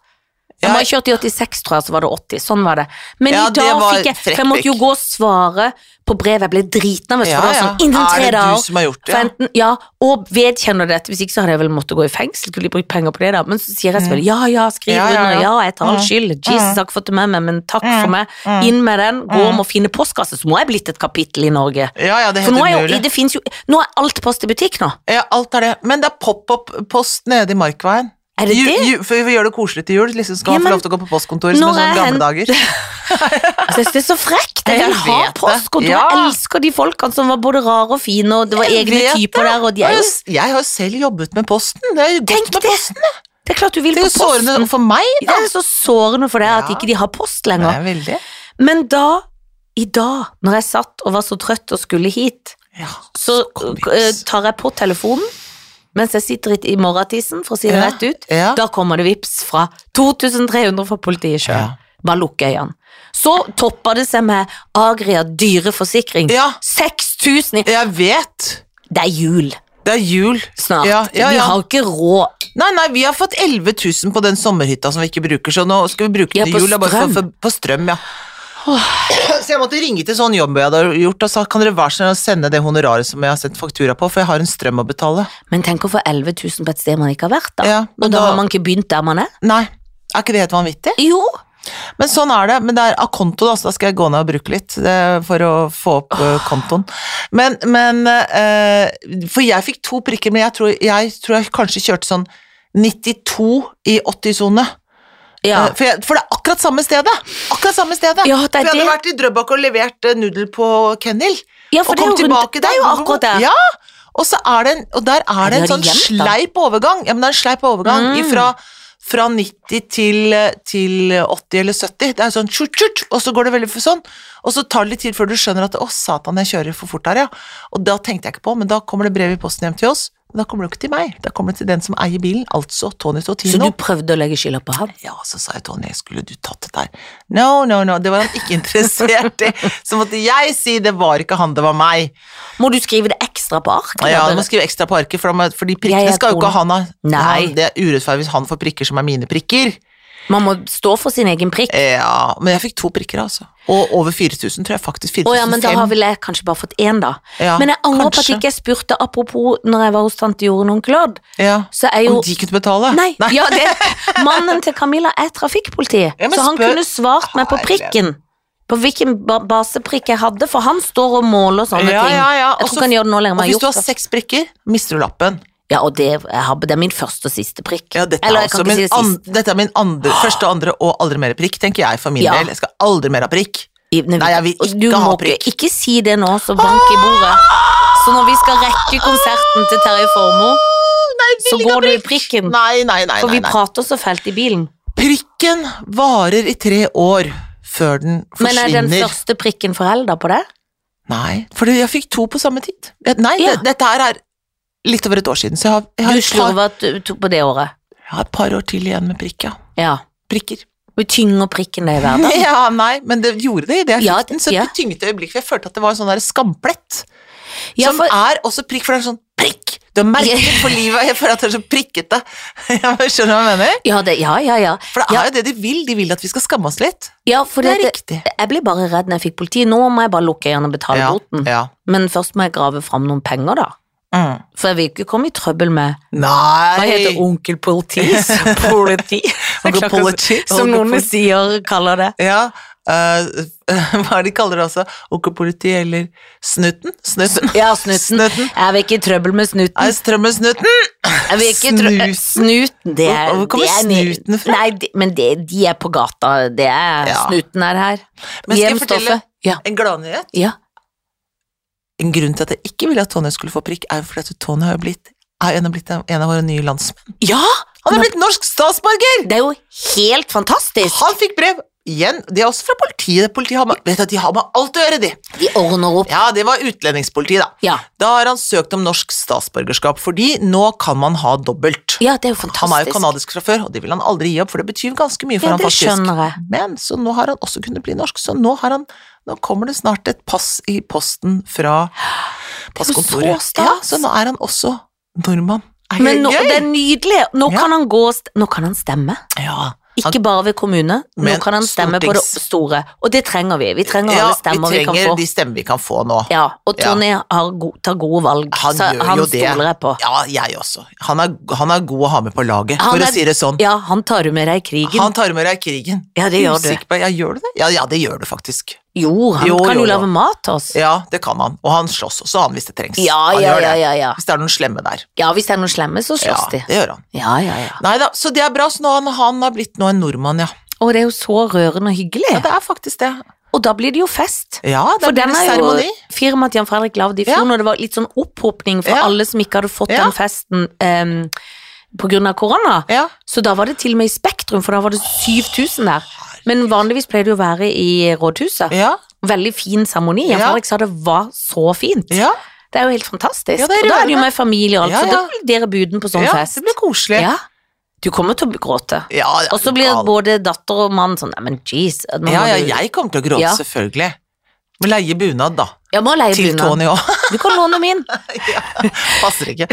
Speaker 2: Jeg
Speaker 1: Ja.
Speaker 2: må ha kjørt i 86, tror jeg, så var det 80. Sånn var det. Men
Speaker 1: Ja,
Speaker 2: i
Speaker 1: det
Speaker 2: dag
Speaker 1: var
Speaker 2: fikk jeg
Speaker 1: frekk
Speaker 2: For jeg måtte jo
Speaker 1: prikk.
Speaker 2: gå og svare på brevet. Jeg ble driten av
Speaker 1: Ja,
Speaker 2: det. for det var
Speaker 1: ja.
Speaker 2: sånn, innen
Speaker 1: Er
Speaker 2: tre
Speaker 1: det du
Speaker 2: dager.
Speaker 1: som har gjort det,
Speaker 2: For
Speaker 1: ja?
Speaker 2: enten, ja, og vedkjenner dette. Hvis ikke så hadde jeg vel måttet gå i fengsel. Skulle de brukt penger på det, da? Men så sier jeg selvfølgelig ja, ja, skriv
Speaker 1: Ja, ja, ja.
Speaker 2: under. Ja, jeg tar all
Speaker 1: Mm.
Speaker 2: skyld. Jesus, jeg har ikke fått det med meg, men takk for meg. Inn med den. Gå om og finne postkasse. Så må jeg blitt et kapittel i Norge.
Speaker 1: Ja, ja, det
Speaker 2: For
Speaker 1: heter
Speaker 2: nå er, jo,
Speaker 1: umulig.
Speaker 2: det finnes jo, nå er alt post i butikk nå.
Speaker 1: Ja, alt er det. Men det er pop-opp-post nede i Markveien.
Speaker 2: Er det
Speaker 1: Ju,
Speaker 2: det?
Speaker 1: ju, for vi gjør det koselig til jul. Liksom skal
Speaker 2: Ja,
Speaker 1: man få
Speaker 2: men
Speaker 1: lov til å gå på postkontor som er
Speaker 2: når
Speaker 1: sånn
Speaker 2: er hen-
Speaker 1: gamle
Speaker 2: <laughs>
Speaker 1: dager.
Speaker 2: Altså, Jeg synes det er så frekt. Jeg
Speaker 1: Jeg
Speaker 2: vil ha
Speaker 1: vet det.
Speaker 2: postkontor. Jeg
Speaker 1: Ja.
Speaker 2: elsker de folkene som var både rare og fine, og det var
Speaker 1: Jeg
Speaker 2: egne
Speaker 1: vet
Speaker 2: typer der, og de er
Speaker 1: Jeg,
Speaker 2: jo
Speaker 1: jeg har jo selv jobbet med Posten. Det er jo
Speaker 2: Tenk
Speaker 1: godt med
Speaker 2: det.
Speaker 1: Posten. jeg.
Speaker 2: Det er klart du vil
Speaker 1: Det er
Speaker 2: på
Speaker 1: jo sårende
Speaker 2: posten.
Speaker 1: for meg.
Speaker 2: Det er så sårende for deg at
Speaker 1: Ja.
Speaker 2: ikke de har post
Speaker 1: Det
Speaker 2: lenger.
Speaker 1: er veldig.
Speaker 2: Men da, i dag, når jeg satt og var så trøtt og skulle hit,
Speaker 1: Ja,
Speaker 2: så
Speaker 1: komiks.
Speaker 2: eh, tar jeg på telefonen mens jeg sitter i- i morgentissen, for å si det
Speaker 1: Ja.
Speaker 2: rett ut.
Speaker 1: ja.
Speaker 2: Da kommer det vips fra 2300 fra politiet sjøl.
Speaker 1: Ja.
Speaker 2: Bare lukk øynene. Så topper det seg med Agria dyreforsikring.
Speaker 1: ja,
Speaker 2: 6000 i
Speaker 1: jeg vet.
Speaker 2: Det er jul
Speaker 1: Det er jul.
Speaker 2: snart.
Speaker 1: Ja, ja,
Speaker 2: Vi
Speaker 1: ja.
Speaker 2: har ikke råd.
Speaker 1: Nei, nei, vi har fått 11 000 på den sommerhytta som vi ikke bruker, så nå skal vi bruke
Speaker 2: Ja,
Speaker 1: den
Speaker 2: på
Speaker 1: i jula bare for,
Speaker 2: strøm.
Speaker 1: for, på strøm, ja. Så jeg måtte ringe til sånn jobb jeg hadde gjort og sa kan dere være så snill å sende det honoraret som jeg har sendt faktura på, for jeg har en strøm å betale.
Speaker 2: Men tenk å få 11 000 på et sted man ikke har vært, da.
Speaker 1: Ja,
Speaker 2: og
Speaker 1: men
Speaker 2: da
Speaker 1: da-
Speaker 2: har man ikke begynt der man er.
Speaker 1: Nei, er ikke det helt vanvittig?
Speaker 2: Jo,
Speaker 1: Men sånn er det. Men det er av konto, da, så da skal jeg gå ned og bruke litt eh, for å få opp eh, kontoen. Men, men eh, For jeg fikk to prikker, men jeg tror jeg, tror jeg kanskje kjørte sånn 92 i 80-sone.
Speaker 2: ja.
Speaker 1: Eh, For, jeg- for det er akkurat samme stedet! Akkurat samme stedet.
Speaker 2: Ja, det
Speaker 1: for
Speaker 2: er
Speaker 1: jeg hadde
Speaker 2: det.
Speaker 1: vært i Drøbak og levert eh, nudel på kennel,
Speaker 2: ja, for
Speaker 1: og
Speaker 2: det er
Speaker 1: kom
Speaker 2: jo rundt
Speaker 1: tilbake
Speaker 2: Det er jo akkurat det.
Speaker 1: Ja, og, så er det en, og der er det en
Speaker 2: Ja, de har
Speaker 1: sånn
Speaker 2: gjemt den.
Speaker 1: sleip overgang. Ja, men det er en sleip overgang
Speaker 2: Mm.
Speaker 1: ifra, fra 90 til, eh, til 80 eller 70. Det er sånn tjut, tjut, og så går det veldig for sånn. Og så tar det litt tid før du skjønner at 'å, satan, jeg kjører for fort her', ja. Og da tenkte jeg ikke på, men da kommer det brev i posten hjem til oss. Men da kommer det jo ikke til meg, da kommer det til den som eier bilen, altså Tony
Speaker 2: Så
Speaker 1: Totino.
Speaker 2: du prøvde å legge skylda på ham?
Speaker 1: Ja, så sa jeg Tony, skulle du tatt det der? No, no, no, det var han ikke interessert i.
Speaker 2: <laughs>
Speaker 1: Så måtte jeg si det var ikke han, det var meg.
Speaker 2: Må du skrive det ekstra på arket?
Speaker 1: Ja, du
Speaker 2: da?
Speaker 1: må skrive ekstra på arket, for, da må- for de
Speaker 2: Jeg er
Speaker 1: prikkene skal jo
Speaker 2: kone.
Speaker 1: ikke han ha.
Speaker 2: Nei.
Speaker 1: Ja, det er urettferdig hvis han får prikker som er mine prikker.
Speaker 2: Man må stå for sin egen prikk.
Speaker 1: Eh, Ja, men jeg fikk to prikker, altså. Og over 4000, tror jeg faktisk.
Speaker 2: Å ja, men da
Speaker 1: 4005.
Speaker 2: har vel jeg kanskje bare fått én, da.
Speaker 1: Ja,
Speaker 2: men jeg angrer på at
Speaker 1: kanskje.
Speaker 2: ikke jeg spurte, apropos når jeg var hos tante Jorunn og onkel Odd,
Speaker 1: Ja.
Speaker 2: så er jo
Speaker 1: Om de kunne betale?
Speaker 2: Nei,
Speaker 1: <laughs>
Speaker 2: ja, det Mannen til Camilla er trafikkpoliti,
Speaker 1: Ja, men
Speaker 2: så han
Speaker 1: spør- Ah,
Speaker 2: kunne svart meg på
Speaker 1: Herlighet.
Speaker 2: prikken. På hvilken ba baseprikk jeg hadde, for han står og måler og sånne
Speaker 1: Ja,
Speaker 2: ting.
Speaker 1: ja, ja.
Speaker 2: Jeg
Speaker 1: Og
Speaker 2: tror
Speaker 1: så-
Speaker 2: ikke han gjør det nå lenger.
Speaker 1: Og
Speaker 2: men jeg
Speaker 1: hvis du har
Speaker 2: gjort det.
Speaker 1: seks prikker, mister du lappen.
Speaker 2: Ja, og det, jeg har, det er min første og siste prikk.
Speaker 1: Ja, dette,
Speaker 2: Eller
Speaker 1: er
Speaker 2: jeg kan
Speaker 1: også
Speaker 2: ikke
Speaker 1: min
Speaker 2: si det siste.
Speaker 1: an- dette er min
Speaker 2: <gasps>
Speaker 1: andre, første, andre og aldri mer prikk, tenker jeg for min
Speaker 2: Ja.
Speaker 1: del. Jeg skal aldri mer ha prikk.
Speaker 2: I- når vi-
Speaker 1: Nei, jeg vil
Speaker 2: og
Speaker 1: ikke
Speaker 2: du
Speaker 1: ha
Speaker 2: må
Speaker 1: prikk.
Speaker 2: Ikke, ikke si det nå, så bank i bordet. Så når vi skal rekke konserten til Terje Formoe, så går du i prikken.
Speaker 1: Nei, nei, nei.
Speaker 2: For
Speaker 1: nei,
Speaker 2: vi
Speaker 1: nei.
Speaker 2: prater så fælt i bilen.
Speaker 1: Prikken varer i tre år før den
Speaker 2: Men er
Speaker 1: forsvinner.
Speaker 2: den første prikken forelda på det?
Speaker 1: Nei, for jeg fikk to på samme tid. Eh, Nei,
Speaker 2: Ja.
Speaker 1: det, dette her er litt over et år siden, så jeg har, jeg har,
Speaker 2: Du
Speaker 1: et, par,
Speaker 2: slurvet på det året.
Speaker 1: jeg har et par år til igjen med prikk, ja.
Speaker 2: Ja.
Speaker 1: Prikker.
Speaker 2: Du tynger prikken deg i hverdagen.
Speaker 1: <laughs> Ja, nei, men det gjorde det i det jeg
Speaker 2: Ja,
Speaker 1: fikk den, så
Speaker 2: ja.
Speaker 1: det tynget øyeblikk, for jeg følte at det var en sånn der skamplett,
Speaker 2: Ja,
Speaker 1: som
Speaker 2: for,
Speaker 1: er også prikk, for det er sånn prikk! Du har merket for livet, jeg føler at det er så prikkete. <laughs> Jeg bare skjønner hva jeg mener.
Speaker 2: ja, det, ja, ja, ja.
Speaker 1: For det er
Speaker 2: Ja.
Speaker 1: jo det de vil, de vil at vi skal skamme oss litt.
Speaker 2: ja for
Speaker 1: Det er
Speaker 2: det,
Speaker 1: riktig.
Speaker 2: jeg blir bare redd når jeg fikk politi. Nå må jeg bare lukke øynene og betale
Speaker 1: Ja,
Speaker 2: boten.
Speaker 1: ja.
Speaker 2: Men først må jeg grave fram noen penger, da.
Speaker 1: Mm.
Speaker 2: For jeg vil ikke komme i trøbbel med
Speaker 1: Nei!
Speaker 2: Hva heter onkel politi? <laughs> politi.
Speaker 1: Onkel Politi.
Speaker 2: Som noen sier kaller det.
Speaker 1: Ja, eh, <laughs> hva er det de kaller det også? Okkerpoliti eller Snutten? Snutten?
Speaker 2: Ja, snuten.
Speaker 1: Snuten.
Speaker 2: Jeg vil ikke i trøbbel med snuten.
Speaker 1: Er strømmen Snutten?
Speaker 2: Jeg vil ikke i trø-
Speaker 1: Snuten.
Speaker 2: Snuten, det er
Speaker 1: Hvor- hvor kommer
Speaker 2: det er ni-
Speaker 1: snuten fra?
Speaker 2: Nei, de, men det, de er på gata. Det er
Speaker 1: Ja.
Speaker 2: Snuten er her.
Speaker 1: Men skal jeg
Speaker 2: Jevn stoffet.
Speaker 1: fortelle-
Speaker 2: Ja.
Speaker 1: En gladnyhet?
Speaker 2: ja.
Speaker 1: En grunn til at jeg ikke ville at Tonje skulle få prikk, er jo fordi at Tonje har jo blitt er jo en av blitt en av våre nye landsmenn.
Speaker 2: Ja!
Speaker 1: Han er blitt norsk statsborger!
Speaker 2: Det er jo helt fantastisk.
Speaker 1: Han fikk brev igjen. De er også fra politiet. Politiet har med, vet du, at de har med alt å gjøre, de.
Speaker 2: De ordner opp.
Speaker 1: Ja, det var utlendingspolitiet, da.
Speaker 2: Ja.
Speaker 1: Da har han søkt om norsk statsborgerskap, fordi nå kan man ha dobbelt.
Speaker 2: ja, det er jo
Speaker 1: Han er jo
Speaker 2: fantastisk.
Speaker 1: kanadisk fra før, og det vil han aldri gi opp, for det betyr ganske mye for
Speaker 2: Ja,
Speaker 1: han
Speaker 2: det
Speaker 1: faktisk.
Speaker 2: skjønner jeg.
Speaker 1: Men så nå har han også kunnet bli norsk, så nå har han Nå kommer det snart et pass i posten fra
Speaker 2: jo så
Speaker 1: passkontoret.
Speaker 2: stas.
Speaker 1: Ja, så nå er han også nordmann. Er
Speaker 2: Men nå,
Speaker 1: det gøy?
Speaker 2: det er nydelig. Nå
Speaker 1: Ja.
Speaker 2: kan han gå og st- Nå kan han stemme.
Speaker 1: Ja.
Speaker 2: Ikke bare ved kommune, nå
Speaker 1: Men
Speaker 2: kan han stemme på det
Speaker 1: stortings-
Speaker 2: store. Og det trenger vi. Vi trenger
Speaker 1: ja,
Speaker 2: alle
Speaker 1: vi
Speaker 2: stemmer vi, kan
Speaker 1: trenger
Speaker 2: få.
Speaker 1: de stemmer vi kan få nå.
Speaker 2: Ja, og Tony har go tar gode valg,
Speaker 1: Han
Speaker 2: så
Speaker 1: gjør
Speaker 2: han
Speaker 1: jo det.
Speaker 2: stoler jeg på.
Speaker 1: Ja, jeg også. Han er, han er god å ha med på laget,
Speaker 2: Han
Speaker 1: for
Speaker 2: er-
Speaker 1: å si det sånn.
Speaker 2: Ja, han tar du med deg i krigen.
Speaker 1: Han tar med deg krigen.
Speaker 2: ja, det gjør du.
Speaker 1: Usikker på- Ja, gjør du det? Ja, ja, det gjør du faktisk.
Speaker 2: Jo, han
Speaker 1: Jo,
Speaker 2: kan
Speaker 1: jo,
Speaker 2: jo
Speaker 1: jo.
Speaker 2: lage mat til oss.
Speaker 1: Ja, det kan han. Og han slåss også, han, hvis det trengs.
Speaker 2: Ja,
Speaker 1: han
Speaker 2: ja,
Speaker 1: gjør det.
Speaker 2: ja, ja, ja.
Speaker 1: Hvis det er noen slemme der.
Speaker 2: Ja, hvis det er noen slemme, så
Speaker 1: Ja,
Speaker 2: slåss de.
Speaker 1: det gjør han.
Speaker 2: Ja, ja, ja.
Speaker 1: Nei da, så det er bra. Så nå, han, han har blitt nå en nordmann, ja.
Speaker 2: Og det er jo så rørende og hyggelig.
Speaker 1: Ja, det er faktisk det.
Speaker 2: Og da blir det jo fest.
Speaker 1: Ja, det
Speaker 2: For
Speaker 1: blir
Speaker 2: den
Speaker 1: det
Speaker 2: er jo
Speaker 1: seremoni.
Speaker 2: firmaet til Jan Fredrik lagde i
Speaker 1: Ja.
Speaker 2: fjor, når det var litt sånn opphopning for
Speaker 1: Ja.
Speaker 2: alle som ikke hadde fått
Speaker 1: Ja.
Speaker 2: den festen em, på grunn av korona.
Speaker 1: Ja.
Speaker 2: Så da var det til og med i Spektrum, for da var det 7000 der. Men vanligvis pleier det jo å være i rådhuset.
Speaker 1: Ja,
Speaker 2: Veldig fin seremoni. Jan
Speaker 1: Ja.
Speaker 2: Fredrik sa det var så fint.
Speaker 1: ja,
Speaker 2: Det er jo helt fantastisk.
Speaker 1: Ja, det er
Speaker 2: og da er det jo
Speaker 1: rørende.
Speaker 2: med familie og alt,
Speaker 1: Ja,
Speaker 2: så
Speaker 1: ja.
Speaker 2: da blir dere buden på sånn
Speaker 1: ja
Speaker 2: fest.
Speaker 1: det blir koselig.
Speaker 2: Ja. Du kommer til å gråte.
Speaker 1: Ja, ja,
Speaker 2: Og så
Speaker 1: du
Speaker 2: blir
Speaker 1: gal.
Speaker 2: både datter og mann sånn, nei, men jeez. nå
Speaker 1: Ja,
Speaker 2: må
Speaker 1: ja,
Speaker 2: du-
Speaker 1: jeg kommer til å gråte,
Speaker 2: Ja.
Speaker 1: selvfølgelig. Men leie bunad, da.
Speaker 2: Jeg må leie
Speaker 1: Til
Speaker 2: bunad.
Speaker 1: Tony òg.
Speaker 2: Du kan låne min.
Speaker 1: <laughs> Passer
Speaker 2: <laughs>
Speaker 1: ikke.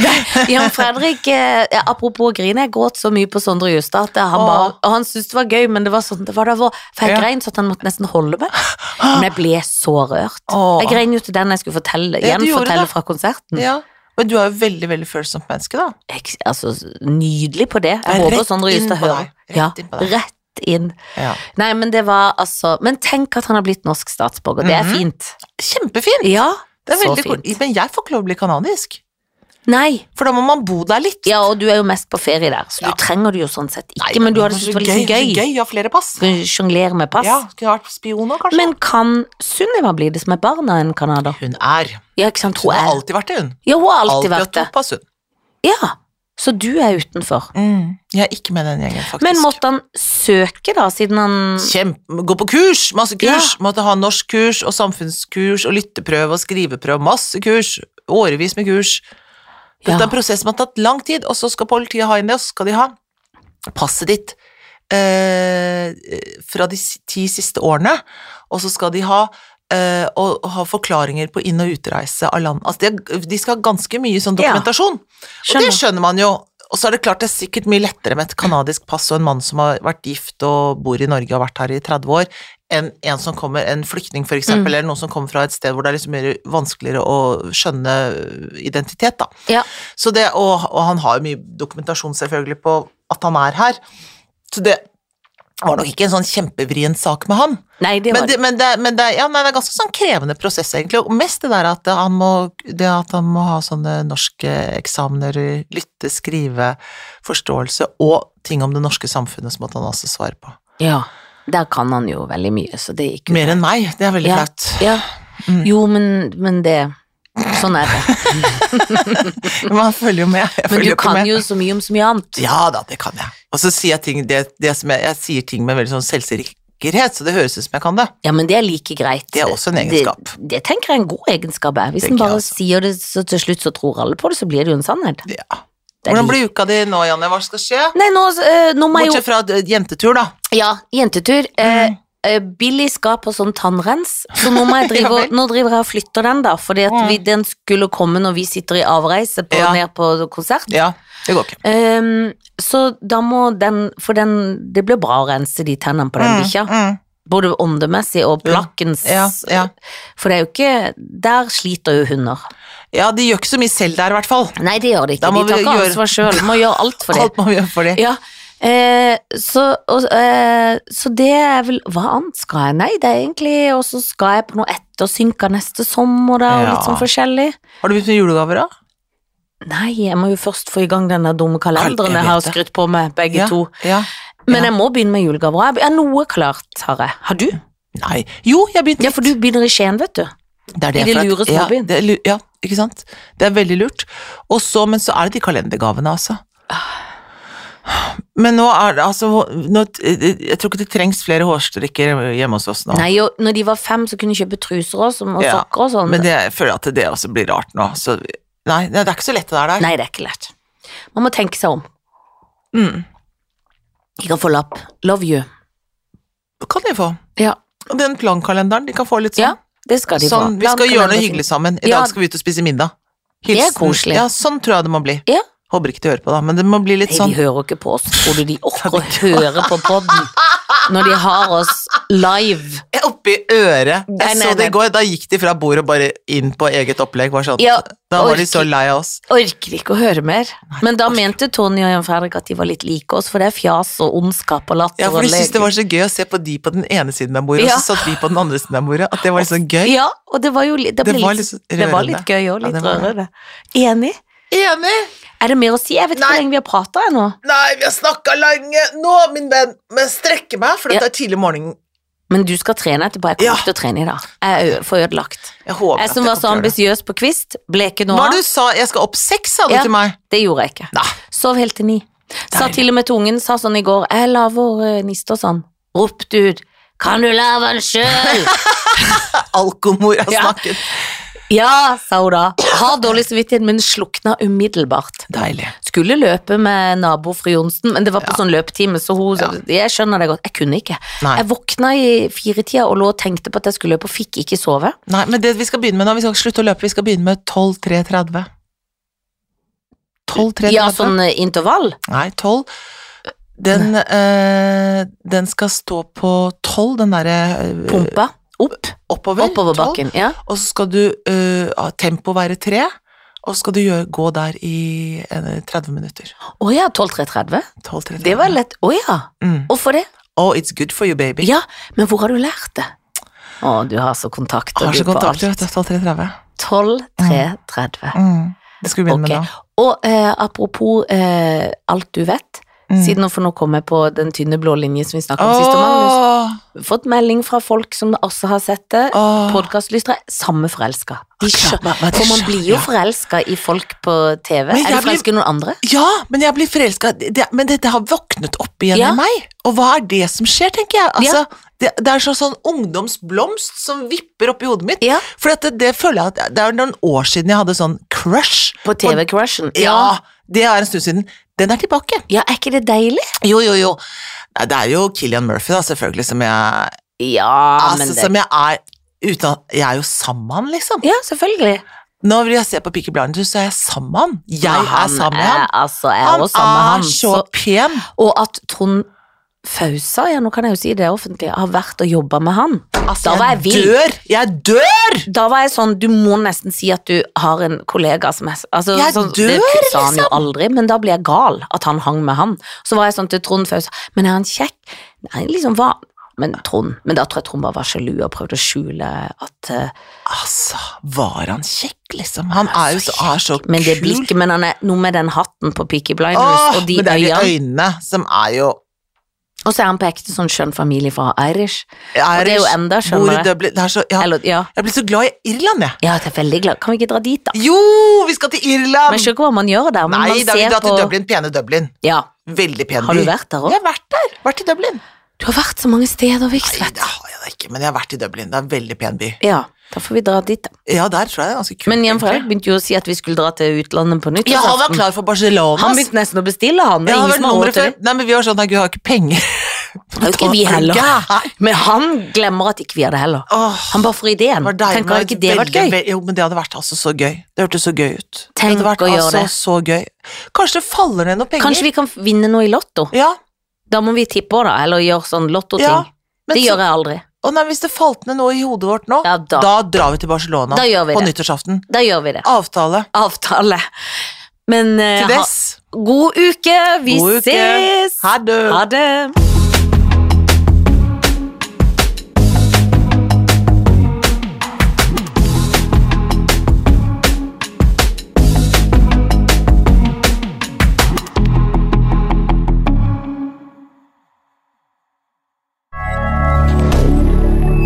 Speaker 2: Jan Fredrik, eh, ja, apropos å grine, jeg gråt så mye på Sondre Justad at han,
Speaker 1: Åh.
Speaker 2: bare, og han syntes det var gøy, men det var sånn, det var da vår, for jeg
Speaker 1: Ja.
Speaker 2: grein så at han måtte nesten holde meg. Men jeg ble så rørt.
Speaker 1: Åh.
Speaker 2: Jeg grein jo til den jeg skulle fortelle,
Speaker 1: Ja, du gjorde
Speaker 2: gjenfortelle
Speaker 1: det.
Speaker 2: fra konserten.
Speaker 1: Ja. Men du er jo veldig veldig følsomt menneske, da.
Speaker 2: Jeg, altså, nydelig på det.
Speaker 1: Det
Speaker 2: Jeg
Speaker 1: er
Speaker 2: håper
Speaker 1: rett
Speaker 2: Sondre
Speaker 1: inn
Speaker 2: Justad
Speaker 1: på
Speaker 2: hører.
Speaker 1: deg. Rett
Speaker 2: Ja,
Speaker 1: inn på deg.
Speaker 2: rett inn.
Speaker 1: Ja.
Speaker 2: Nei, men det var altså Men tenk at han har blitt norsk statsborger. Det er
Speaker 1: Mhm.
Speaker 2: fint.
Speaker 1: Kjempefint!
Speaker 2: Ja,
Speaker 1: Det er
Speaker 2: så
Speaker 1: veldig
Speaker 2: fint.
Speaker 1: kort. Men jeg får ikke lov å bli kanadisk,
Speaker 2: Nei.
Speaker 1: for da må man bo der litt.
Speaker 2: Ja, og du er jo mest på ferie der, så
Speaker 1: Ja.
Speaker 2: du trenger det jo sånn sett ikke,
Speaker 1: Nei,
Speaker 2: men du hadde
Speaker 1: det
Speaker 2: syntes det
Speaker 1: var
Speaker 2: var litt sånn
Speaker 1: gøy.
Speaker 2: gøy.
Speaker 1: Gøy å ha flere pass.
Speaker 2: Skal Sjonglere med pass.
Speaker 1: Ja, Kunne vært spion òg, kanskje.
Speaker 2: Men kan Sunniva bli det som er barna en canadier?
Speaker 1: hun er.
Speaker 2: Ja, ikke sant,
Speaker 1: Hun
Speaker 2: hun
Speaker 1: har
Speaker 2: er
Speaker 1: alltid vært det, hun.
Speaker 2: Ja, hun har alltid
Speaker 1: Alltid
Speaker 2: vært
Speaker 1: hatt to
Speaker 2: det.
Speaker 1: pass, hun.
Speaker 2: Ja, så du er utenfor.
Speaker 1: Mm. Jeg er ikke med den gjengen, faktisk.
Speaker 2: Men måtte han søke, da, siden han
Speaker 1: Kjempe, gå på kurs, masse kurs.
Speaker 2: Ja.
Speaker 1: Måtte ha norskkurs og samfunnskurs og lytteprøve og skriveprøve. Masse kurs. Årevis med kurs. Dette
Speaker 2: Ja.
Speaker 1: er en prosess som har tatt lang tid, og så skal politiet ha inn det, og så skal de ha passet ditt eh, fra de si- ti siste årene, og så skal de ha eh, og ha forklaringer på inn- og utreise av land. Altså, de, de skal ha ganske mye sånn
Speaker 2: Ja.
Speaker 1: dokumentasjon, og det
Speaker 2: Skjønner.
Speaker 1: skjønner man jo. Og så er det klart det er sikkert mye lettere med et kanadisk pass og en mann som har vært gift og bor i Norge og har vært her i 30 år, enn en som kommer, en flyktning for eksempel, eller noen som kommer fra et sted hvor det er liksom mer vanskeligere å skjønne identitet, da.
Speaker 2: Ja.
Speaker 1: Så det, og, og han har jo mye dokumentasjon selvfølgelig på at han er her. Så det var nok ikke en sånn kjempevrien sak med han.
Speaker 2: Nei, det
Speaker 1: Men
Speaker 2: var
Speaker 1: det, men det, men det, ja, nei, det er ganske sånn krevende prosess, egentlig. Og mest det der at han må, det at han må ha sånne norske eksamener i lytte, skrive, forståelse og ting om det norske samfunnet som måtte han også svare på.
Speaker 2: Ja. Der kan han jo veldig mye, så det gikk jo
Speaker 1: Mer enn meg, det er veldig
Speaker 2: Ja.
Speaker 1: flaut.
Speaker 2: Ja.
Speaker 1: Mm.
Speaker 2: Jo, men, men det Sånn
Speaker 1: <laughs>
Speaker 2: er det.
Speaker 1: Men han følger jo med. Jeg
Speaker 2: Men
Speaker 1: følger
Speaker 2: du
Speaker 1: ikke
Speaker 2: kan
Speaker 1: med.
Speaker 2: jo så mye om så mye annet.
Speaker 1: Ja da, det kan jeg. Og så sier jeg ting, det, det som jeg, jeg sier ting med veldig sånn selvsikkerhet, så det høres ut som jeg kan det.
Speaker 2: Ja, men det er like greit.
Speaker 1: Det er også en egenskap.
Speaker 2: Det, det tenker jeg er en god egenskap er. Hvis
Speaker 1: Tenker
Speaker 2: en bare
Speaker 1: jeg også.
Speaker 2: sier det, så til slutt så tror alle på det, så blir det jo en sannhet.
Speaker 1: Ja.
Speaker 2: er
Speaker 1: Hvordan
Speaker 2: de-
Speaker 1: blir uka di nå, Janne? Hva skal skje?
Speaker 2: Nei, nå, eh, nå må jeg jo
Speaker 1: Bortsett fra eh, jentetur, da.
Speaker 2: Ja, jentetur. Eh,
Speaker 1: Mm.
Speaker 2: eh, Billy skal på sånn tannrens, så nå,
Speaker 1: <laughs>
Speaker 2: må jeg drive,
Speaker 1: Ja vel. Mm.
Speaker 2: og- nå driver jeg og flytter den, da. Fordi at vi, den skulle komme når vi sitter i avreise på,
Speaker 1: Ja.
Speaker 2: ned på konsert.
Speaker 1: Ja, det går ikke.
Speaker 2: Ehm, så da må den For den, det blir bra å rense de tennene på den bikkja.
Speaker 1: Mm.
Speaker 2: Både åndemessig og plakkens. eh,
Speaker 1: Ja, ja.
Speaker 2: For det er jo ikke Der sliter jo hunder.
Speaker 1: Ja, de gjør ikke så mye selv der, i hvert fall.
Speaker 2: Nei, det gjør det
Speaker 1: Da
Speaker 2: ikke.
Speaker 1: må
Speaker 2: De tar
Speaker 1: vi
Speaker 2: ikke
Speaker 1: gjøre-
Speaker 2: ansvar sjøl. Må gjøre alt for det.
Speaker 1: <laughs> Alt må vi gjøre for de.
Speaker 2: Ja, eh, så, og, eh, så det er vel Hva annet skal jeg? Nei, det er egentlig Og så skal jeg på noe ettersynka neste sommer, da, og
Speaker 1: Ja.
Speaker 2: litt sånn forskjellig.
Speaker 1: Har du begynt med julegaver, da?
Speaker 2: Nei, jeg må jo først få i gang den der dumme
Speaker 1: Kal- jeg
Speaker 2: kalenderen jeg har
Speaker 1: vet det.
Speaker 2: skrytt på med, begge
Speaker 1: Ja,
Speaker 2: to.
Speaker 1: ja.
Speaker 2: Men
Speaker 1: ja.
Speaker 2: jeg må begynne med julegaver. Jeg er noe klart, har jeg. Har du?
Speaker 1: Nei. Jo, jeg har begynt
Speaker 2: Ja, for du begynner i Skien, vet du.
Speaker 1: Det er det,
Speaker 2: I de
Speaker 1: for at-
Speaker 2: lure
Speaker 1: ja,
Speaker 2: småbyen.
Speaker 1: det er lu- Ja, ikke sant. Det er veldig lurt. Og så, men så er det de kalendergavene, altså. Men nå er det altså nå, Jeg tror ikke det trengs flere hårstrikker hjemme hos oss nå.
Speaker 2: Nei, og når de var fem, så kunne de kjøpe truser og, sånn, og
Speaker 1: Ja,
Speaker 2: sokker og sånn.
Speaker 1: Men det, jeg føler at det også blir rart nå. Så, nei, nei, det er ikke så lett det der. der.
Speaker 2: Nei, det er ikke lett. Man må tenke seg om.
Speaker 1: Mm.
Speaker 2: De kan få lapp. Love you.
Speaker 1: Kan de få.
Speaker 2: Ja.
Speaker 1: Og den plankalenderen, de kan få litt sånn.
Speaker 2: Ja, det skal de
Speaker 1: sånn
Speaker 2: få.
Speaker 1: vi skal gjøre noe
Speaker 2: Plankalender-
Speaker 1: hyggelig sammen. I
Speaker 2: Ja.
Speaker 1: dag skal vi ut og spise middag.
Speaker 2: er
Speaker 1: Hilsen.
Speaker 2: koselig.
Speaker 1: Ja, sånn tror jeg det må bli.
Speaker 2: Ja.
Speaker 1: Håper ikke de hører på, da, men det må bli litt
Speaker 2: Nei,
Speaker 1: sånn
Speaker 2: de hører ikke på oss. <laughs> Tror du de orker å høre på podden når de har oss live?
Speaker 1: Jeg opp- oppi øret.
Speaker 2: Nei,
Speaker 1: Jeg
Speaker 2: nei,
Speaker 1: så det
Speaker 2: nei.
Speaker 1: i går. Da gikk de fra bordet og bare inn på eget opplegg. Var sånn.
Speaker 2: Ja,
Speaker 1: da var de så
Speaker 2: orker-
Speaker 1: lei av oss.
Speaker 2: Orker ikke å høre mer. Men da mente Tony og Jan Fredrik at de var litt like oss, for det er fjas og ondskap og latter.
Speaker 1: Ja, for
Speaker 2: og
Speaker 1: de syntes
Speaker 2: lek.
Speaker 1: det var så gøy å se på de på den ene siden av bordet,
Speaker 2: Ja.
Speaker 1: og så satt vi på den andre siden av bordet. At det var litt sånn gøy.
Speaker 2: Ja, og det var jo litt, det
Speaker 1: Det
Speaker 2: ble
Speaker 1: var
Speaker 2: litt,
Speaker 1: litt
Speaker 2: det var
Speaker 1: rørende.
Speaker 2: litt gøy og
Speaker 1: Ja,
Speaker 2: litt
Speaker 1: det var det.
Speaker 2: rørende. Enig?
Speaker 1: Enig!
Speaker 2: Er det mer å si? Jeg vet ikke
Speaker 1: Nei.
Speaker 2: hvor lenge vi har prata ennå.
Speaker 1: Nei, vi har snakka lenge. Nå, min venn, må jeg strekke meg, for
Speaker 2: Ja.
Speaker 1: dette er tidlig morgen.
Speaker 2: Men du skal trene etterpå. Jeg kommer
Speaker 1: Ja.
Speaker 2: ikke til å trene i dag. Jeg er ø- for ødelagt.
Speaker 1: Jeg håper
Speaker 2: Jeg
Speaker 1: at
Speaker 2: som
Speaker 1: jeg
Speaker 2: var sånn, så
Speaker 1: kommer til å gjøre det.
Speaker 2: ambisiøs på kvist, ble ikke noe
Speaker 1: Hva
Speaker 2: av.
Speaker 1: du sa Jeg skal opp seks, sa du
Speaker 2: Ja.
Speaker 1: til meg.
Speaker 2: Det gjorde jeg ikke.
Speaker 1: Nei.
Speaker 2: Sov helt til ni. Sa
Speaker 1: Deilig.
Speaker 2: til og med til ungen, sa sånn i går, jeg laver ø, niste og sånn. Ropte ut, kan du lave
Speaker 1: <laughs>
Speaker 2: den sjøl?
Speaker 1: Alkomor har
Speaker 2: Ja.
Speaker 1: snakket.
Speaker 2: ja, sa hun da. Har dårlig samvittighet, men slukna umiddelbart.
Speaker 1: Deilig.
Speaker 2: Skulle løpe med nabo fru Johnsen, men det var på sånn løpetime, så hun Jeg skjønner det godt. Jeg kunne ikke.
Speaker 1: Nei.
Speaker 2: Jeg våkna i firetida og lå og tenkte på at jeg skulle løpe, og fikk ikke sove.
Speaker 1: Nei, men det vi skal begynne med nå, vi skal ikke slutte å løpe, vi skal begynne med 12.3.30. 12.3.30?
Speaker 2: Ja, sånn eh, intervall.
Speaker 1: Nei, 12. Den, eh, den skal stå på 12, den derre eh,
Speaker 2: Pumpa. Opp.
Speaker 1: oppover. 12,
Speaker 2: Oppover bakken. Ja.
Speaker 1: Og så skal du eh, ha tempo være 3, og så skal du gjøre, gå der i eh, 30 minutter.
Speaker 2: Å ja, 12.330.
Speaker 1: 12.3.30.
Speaker 2: Det var lett. Å ja.
Speaker 1: Mm.
Speaker 2: Hvorfor det?
Speaker 1: Oh, it's good for you, baby.
Speaker 2: Ja, men hvor har du lært det? Å, du har så kontakter.
Speaker 1: Har
Speaker 2: du,
Speaker 1: så
Speaker 2: på
Speaker 1: kontakter, vet
Speaker 2: alt.
Speaker 1: du. 12.3.30.
Speaker 2: 12.330.
Speaker 1: Mm. Det skal vi begynne
Speaker 2: Ok.
Speaker 1: med nå.
Speaker 2: Og eh, apropos eh, alt du vet,
Speaker 1: Mm.
Speaker 2: siden nå for nå kom jeg på den tynne blå linje som vi snakket om sist. Magnus.
Speaker 1: Åh,
Speaker 2: Fått melding fra folk som også har sett det.
Speaker 1: åh.
Speaker 2: Podkastlystere, samme forelska. De
Speaker 1: Akkurat,
Speaker 2: skjønner-
Speaker 1: men- men de
Speaker 2: For man blir jo
Speaker 1: skjønner.
Speaker 2: forelska i folk på TV.
Speaker 1: Men
Speaker 2: er
Speaker 1: jeg
Speaker 2: du forelska i noen andre?
Speaker 1: Ja, men jeg blir forelska. Det- det- Men dette har våknet opp igjen
Speaker 2: Ja.
Speaker 1: i meg. Og hva er det som skjer, tenker jeg. Altså, det, det er sånn, sånn ungdomsblomst som vipper opp i hodet mitt.
Speaker 2: Ja.
Speaker 1: For at det, det føler jeg at det er noen år siden jeg hadde sånn crush.
Speaker 2: På TV-crushen?
Speaker 1: Ja, det er en stund siden. Den er tilbake.
Speaker 2: ja. Er ikke det deilig?
Speaker 1: Jo, jo, jo. Nei, Det er jo Killian Murphy, da, selvfølgelig, som jeg,
Speaker 2: Ja, men
Speaker 1: altså,
Speaker 2: det
Speaker 1: som jeg er uten, Jeg er jo sammen med han, liksom.
Speaker 2: Ja, selvfølgelig.
Speaker 1: Nå vil jeg se på Peaky Blinders, så er jeg sammen med han. Jeg
Speaker 2: Ja,
Speaker 1: er sammen med han.
Speaker 2: Er, altså, jeg er
Speaker 1: Han
Speaker 2: også sammen med
Speaker 1: er
Speaker 2: han.
Speaker 1: så
Speaker 2: Så,
Speaker 1: pen.
Speaker 2: og at Trond Fausa, ja, nå kan jeg jo si det offentlig, har vært og jobba med han.
Speaker 1: Altså,
Speaker 2: da var jeg vill.
Speaker 1: dør! Jeg dør!
Speaker 2: Da var jeg sånn, du må nesten si at du har en kollega som er altså,
Speaker 1: Jeg
Speaker 2: sånn,
Speaker 1: dør,
Speaker 2: Det sa han jo
Speaker 1: liksom.
Speaker 2: aldri, men da ble jeg gal at han hang med han. Så var jeg sånn til Trond Fausa, men er han kjekk? Nei, liksom hva? Men Trond, men da tror jeg Trond bare var sjalu og prøvde å skjule at eh,
Speaker 1: Altså, var han kjekk, liksom? Han er jo så, er så
Speaker 2: Men det
Speaker 1: kul.
Speaker 2: blikket, men han er noe med den hatten på Peaky Blinders
Speaker 1: Åh,
Speaker 2: og de
Speaker 1: men det er de
Speaker 2: øynene.
Speaker 1: øynene som er jo
Speaker 2: Og så er han på ekte sånn skjønn familie fra Irish.
Speaker 1: Irish,
Speaker 2: det er jo enda
Speaker 1: bor i
Speaker 2: skjønnere.
Speaker 1: Dublin. Det er så, ja,
Speaker 2: Eller, ja.
Speaker 1: jeg blir så glad i Irland, jeg.
Speaker 2: ja, det er veldig glad. Kan vi ikke dra dit, da?
Speaker 1: Jo, vi skal til
Speaker 2: Men jeg
Speaker 1: Irland!
Speaker 2: skjønner ikke hva man gjør der. Men
Speaker 1: Nei,
Speaker 2: man
Speaker 1: da vil vi
Speaker 2: ser
Speaker 1: dra til
Speaker 2: på-
Speaker 1: Dublin. Pene Dublin.
Speaker 2: Ja.
Speaker 1: Veldig pen by.
Speaker 2: Har du vært der òg?
Speaker 1: Jeg har vært der. Vært i Dublin.
Speaker 2: Du har vært så mange steder,
Speaker 1: Nei,
Speaker 2: Viksvedt.
Speaker 1: det har jeg da ikke, men jeg har vært i Dublin. Det er en veldig pen by.
Speaker 2: Ja, da får vi dra dit, da.
Speaker 1: Ja, der tror jeg det er ganske kult.
Speaker 2: Men Jan
Speaker 1: egentlig.
Speaker 2: Fredrik begynte jo å si at vi skulle dra til utlandet på nytt.
Speaker 1: Ja, han var
Speaker 2: altså.
Speaker 1: klar for Barcelona.
Speaker 2: Han begynte nesten å bestille, han. Det
Speaker 1: Ja,
Speaker 2: er
Speaker 1: han
Speaker 2: ingen
Speaker 1: var
Speaker 2: som har råd
Speaker 1: nummeret
Speaker 2: til
Speaker 1: før.
Speaker 2: det.
Speaker 1: Nei, men vi har sånn, nei, gud, jeg har ikke penger.
Speaker 2: Det er jo
Speaker 1: <laughs>
Speaker 2: ikke vi heller. Men han glemmer at ikke vi har det heller.
Speaker 1: Åh,
Speaker 2: Han bare får
Speaker 1: det
Speaker 2: ideen.
Speaker 1: var deilig.
Speaker 2: Tenker hadde ikke det vært
Speaker 1: Veldig,
Speaker 2: gøy?
Speaker 1: ve- Jo, men det hadde vært altså så gøy. Det hørtes så gøy ut.
Speaker 2: Tenk
Speaker 1: det hadde vært
Speaker 2: å gjøre
Speaker 1: altså
Speaker 2: det.
Speaker 1: så gøy. Kanskje det faller ned noen penger.
Speaker 2: Kanskje vi kan vinne noe i Lotto?
Speaker 1: Ja,
Speaker 2: Da må vi tippe òg, da. Eller gjøre sånn lottoting.
Speaker 1: ja. Men
Speaker 2: det
Speaker 1: så-
Speaker 2: gjør jeg aldri.
Speaker 1: Å nei, hvis det falt ned noe i hodet vårt nå,
Speaker 2: Ja, da.
Speaker 1: drar vi til Barcelona
Speaker 2: Da gjør vi
Speaker 1: på
Speaker 2: det.
Speaker 1: nyttårsaften.
Speaker 2: Da gjør vi det.
Speaker 1: Avtale.
Speaker 2: Avtale. Men eh,
Speaker 1: Til
Speaker 2: ha,
Speaker 1: dess.
Speaker 2: god uke! Vi
Speaker 1: God uke.
Speaker 2: ses!
Speaker 1: Ha det.
Speaker 2: Ha det.